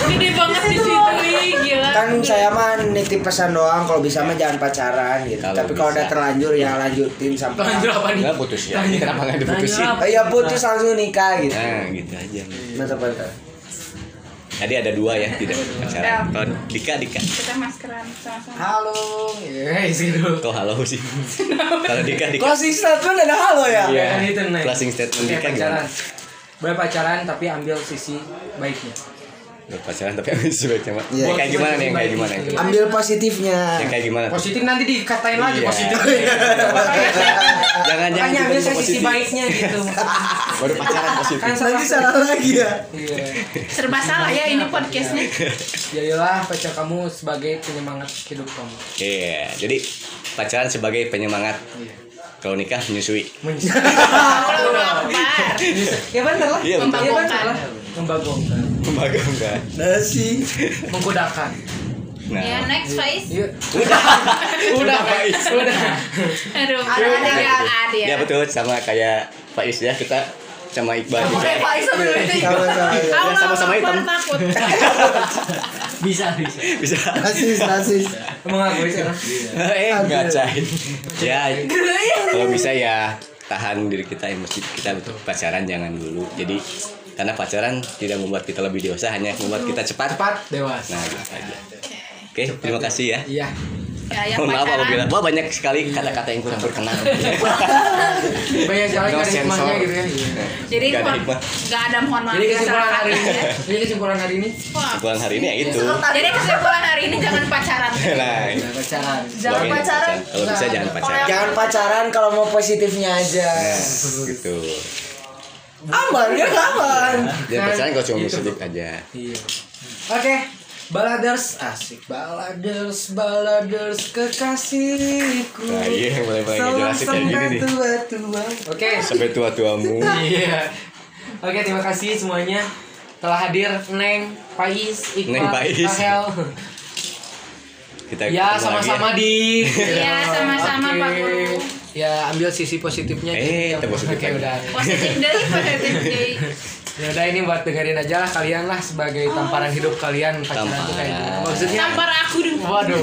Speaker 3: gede banget di situ ih, gila
Speaker 6: Kan saya mah nitip pesan doang kalau bisa mah jangan pacaran gitu.
Speaker 2: Kalau
Speaker 6: Tapi kalau
Speaker 2: bisa.
Speaker 6: udah terlanjur ya lanjutin sampai
Speaker 1: Lanjut apa nih?
Speaker 2: Enggak putus ya. Ini kenapa enggak diputusin?
Speaker 1: Tanya apa?
Speaker 6: Eh, ya putus langsung nikah gitu.
Speaker 2: Nah, gitu aja.
Speaker 6: Mantap mantap.
Speaker 2: Tadi ada dua ya, tidak pacaran. Kalau Dika, Dika.
Speaker 3: kita maskeran sama-sama
Speaker 1: Halo. Iya, isi dulu.
Speaker 2: Kok halo sih? Kalau Dika, Dika.
Speaker 6: Closing statement ada halo ya.
Speaker 2: Iya.
Speaker 1: Kan itu, Nay.
Speaker 2: Closing statement kan ya.
Speaker 1: Kayak
Speaker 2: Dika gimana?
Speaker 1: pacaran. Boleh pacaran tapi ambil sisi baiknya.
Speaker 2: Pacaran tapi habis sebaiknya mah.
Speaker 6: Iya.
Speaker 2: Kayak gimana nih? yang Kayak gimana? yang kayak-
Speaker 6: Ambil positifnya.
Speaker 2: Yang Ya, kayak gimana?
Speaker 1: Positif nanti dikatain lagi
Speaker 2: Iya.
Speaker 1: positif.
Speaker 2: Jangan jangan
Speaker 1: Makanya Kan ambil
Speaker 2: tiba-tiba
Speaker 1: sisi
Speaker 2: positif.
Speaker 1: baiknya gitu.
Speaker 2: Baru pacaran positif.
Speaker 1: Kan salah.
Speaker 6: Nanti salah lagi ya.
Speaker 1: Iya.
Speaker 3: serba salah ya ini podcastnya
Speaker 1: Jadilah pacar kamu sebagai penyemangat hidup kamu.
Speaker 2: Iya, jadi pacaran sebagai penyemangat.
Speaker 1: Iya.
Speaker 2: Kalau nikah menyusui.
Speaker 3: Allah Akbar
Speaker 1: ya bener lah.
Speaker 2: Iya, betul.
Speaker 1: Ya bener
Speaker 3: Membangkongkan.
Speaker 1: lah. Membagongkan.
Speaker 2: Lembaga enggak.
Speaker 6: Nasi.
Speaker 1: Menggodakan.
Speaker 2: Nah,
Speaker 3: ya next Faiz
Speaker 1: Iya. Udah.
Speaker 2: Faiz.
Speaker 1: Udah. Udah.
Speaker 3: aduh ada
Speaker 7: Ada-
Speaker 3: ada
Speaker 7: ada-
Speaker 3: ya ada
Speaker 2: Ya
Speaker 3: ya
Speaker 2: betul sama kayak Faiz ya kita sama Iqbal juga.
Speaker 7: Oke, Faiz sama Rifki.
Speaker 6: Sama-sama. ya.
Speaker 3: Allah
Speaker 2: Iya, sama-sama
Speaker 3: Akbar,
Speaker 2: hitam.
Speaker 3: takut
Speaker 4: Bisa bisa.
Speaker 2: Bisa.
Speaker 6: Nasis, nasis.
Speaker 1: Mengakui sih.
Speaker 2: eh enggak cain. Ya kalau bisa ya tahan diri kita emosi kita betul pacaran jangan dulu. Jadi karena pacaran tidak membuat kita lebih dewasa hanya membuat kita cepat.
Speaker 1: Cepat dewasa.
Speaker 2: Nah, gitu aja. Oke, terima kasih ya.
Speaker 1: Iya.
Speaker 3: ya yang
Speaker 2: Mohon maaf apabila
Speaker 3: pacaran
Speaker 2: wah banyak sekali kata-kata yang kurang berkenan.
Speaker 1: Banyak sekali
Speaker 2: No
Speaker 1: kan hikmahnya
Speaker 2: sensor. Nah.
Speaker 1: gitu ya. Iya.
Speaker 3: jadi
Speaker 2: Gak ada
Speaker 3: mohon-
Speaker 2: hikmah.
Speaker 3: gak ada mohon maaf
Speaker 1: Jadi kesimpulan hari ini.
Speaker 3: kesalahan.
Speaker 1: Jadi kesimpulan hari ini.
Speaker 3: Wah.
Speaker 2: Kesimpulan hari ini ya itu.
Speaker 3: jadi kesimpulan hari ini jangan pacaran
Speaker 2: Nah,
Speaker 1: Jangan pacaran.
Speaker 7: Jangan
Speaker 2: sebagai
Speaker 7: pacaran.
Speaker 2: Kalau bisa jangan pacaran.
Speaker 6: Jangan pacaran kalau mau positifnya aja.
Speaker 2: Nah, gitu.
Speaker 6: Aman ya aman.
Speaker 2: Jangan pacaran kalau cuma sedikit aja.
Speaker 1: Iya. Oke. Baladers asik baladers baladers kekasihku.
Speaker 2: Nah, iya mulai-mulai ngejelasin kayak
Speaker 6: Salam
Speaker 2: gini
Speaker 6: sama
Speaker 2: nih.
Speaker 6: tua-tua.
Speaker 1: Oke.
Speaker 2: Sampai tua-tuamu.
Speaker 1: Iya. Oke, terima kasih semuanya telah hadir Neng, Pais, Iqbal,
Speaker 2: Neng Pais.
Speaker 1: Rahel.
Speaker 2: Kita ketemu
Speaker 1: Ya,
Speaker 2: lagi
Speaker 1: sama-sama di.
Speaker 3: Iya, sama-sama,
Speaker 1: Oke.
Speaker 3: Pak Guru.
Speaker 1: Ya, ambil sisi positifnya.
Speaker 2: Eh,
Speaker 1: Jadi,
Speaker 2: itu positif
Speaker 1: ya
Speaker 2: lagi.
Speaker 1: udah.
Speaker 3: positif day positif day
Speaker 1: Ya udah ini buat dengerin aja lah kalian lah sebagai
Speaker 3: Oh.
Speaker 1: tamparan hidup kalian pacaran tuh kayak gini.
Speaker 2: Tamparan.
Speaker 1: Maksudnya
Speaker 3: tampar aku dong
Speaker 1: Waduh.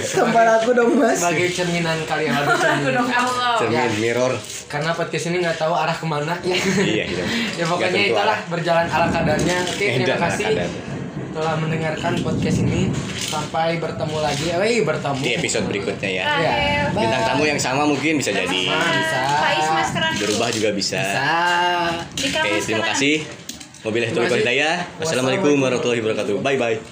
Speaker 6: Tempat aku dong mas.
Speaker 1: sebagai cerminan kalian waduh, cerminan.
Speaker 3: Allah
Speaker 1: Ya.
Speaker 2: Cermin, mirror.
Speaker 1: Karena podcast ini nggak tahu arah kemana
Speaker 2: Iya,
Speaker 1: ya.
Speaker 2: iya.
Speaker 1: ya
Speaker 2: Nggak
Speaker 1: pokoknya
Speaker 2: tentu
Speaker 1: itulah
Speaker 2: arah.
Speaker 1: berjalan ala kadarnya. Oke,
Speaker 2: Eh,
Speaker 1: terima
Speaker 2: dan
Speaker 1: kasih
Speaker 2: anak-anak.
Speaker 1: telah mendengarkan podcast ini. Sampai bertemu lagi. Eh, wey, bertemu.
Speaker 2: Di episode berikutnya ya.
Speaker 1: Ya.
Speaker 2: Bintang tamu yang sama mungkin bisa jadi.
Speaker 1: Bisa.
Speaker 3: Ya, Faiz maskeran dulu.
Speaker 2: Berubah juga bisa.
Speaker 1: Bisa.
Speaker 3: Dika
Speaker 2: Oke, terima
Speaker 3: maskeran.
Speaker 2: kasih. Wabillahi taufiq
Speaker 1: Terima kasih.
Speaker 2: walhidayah. Wassalamualaikum warahmatullahi wabarakatuh. Bye bye.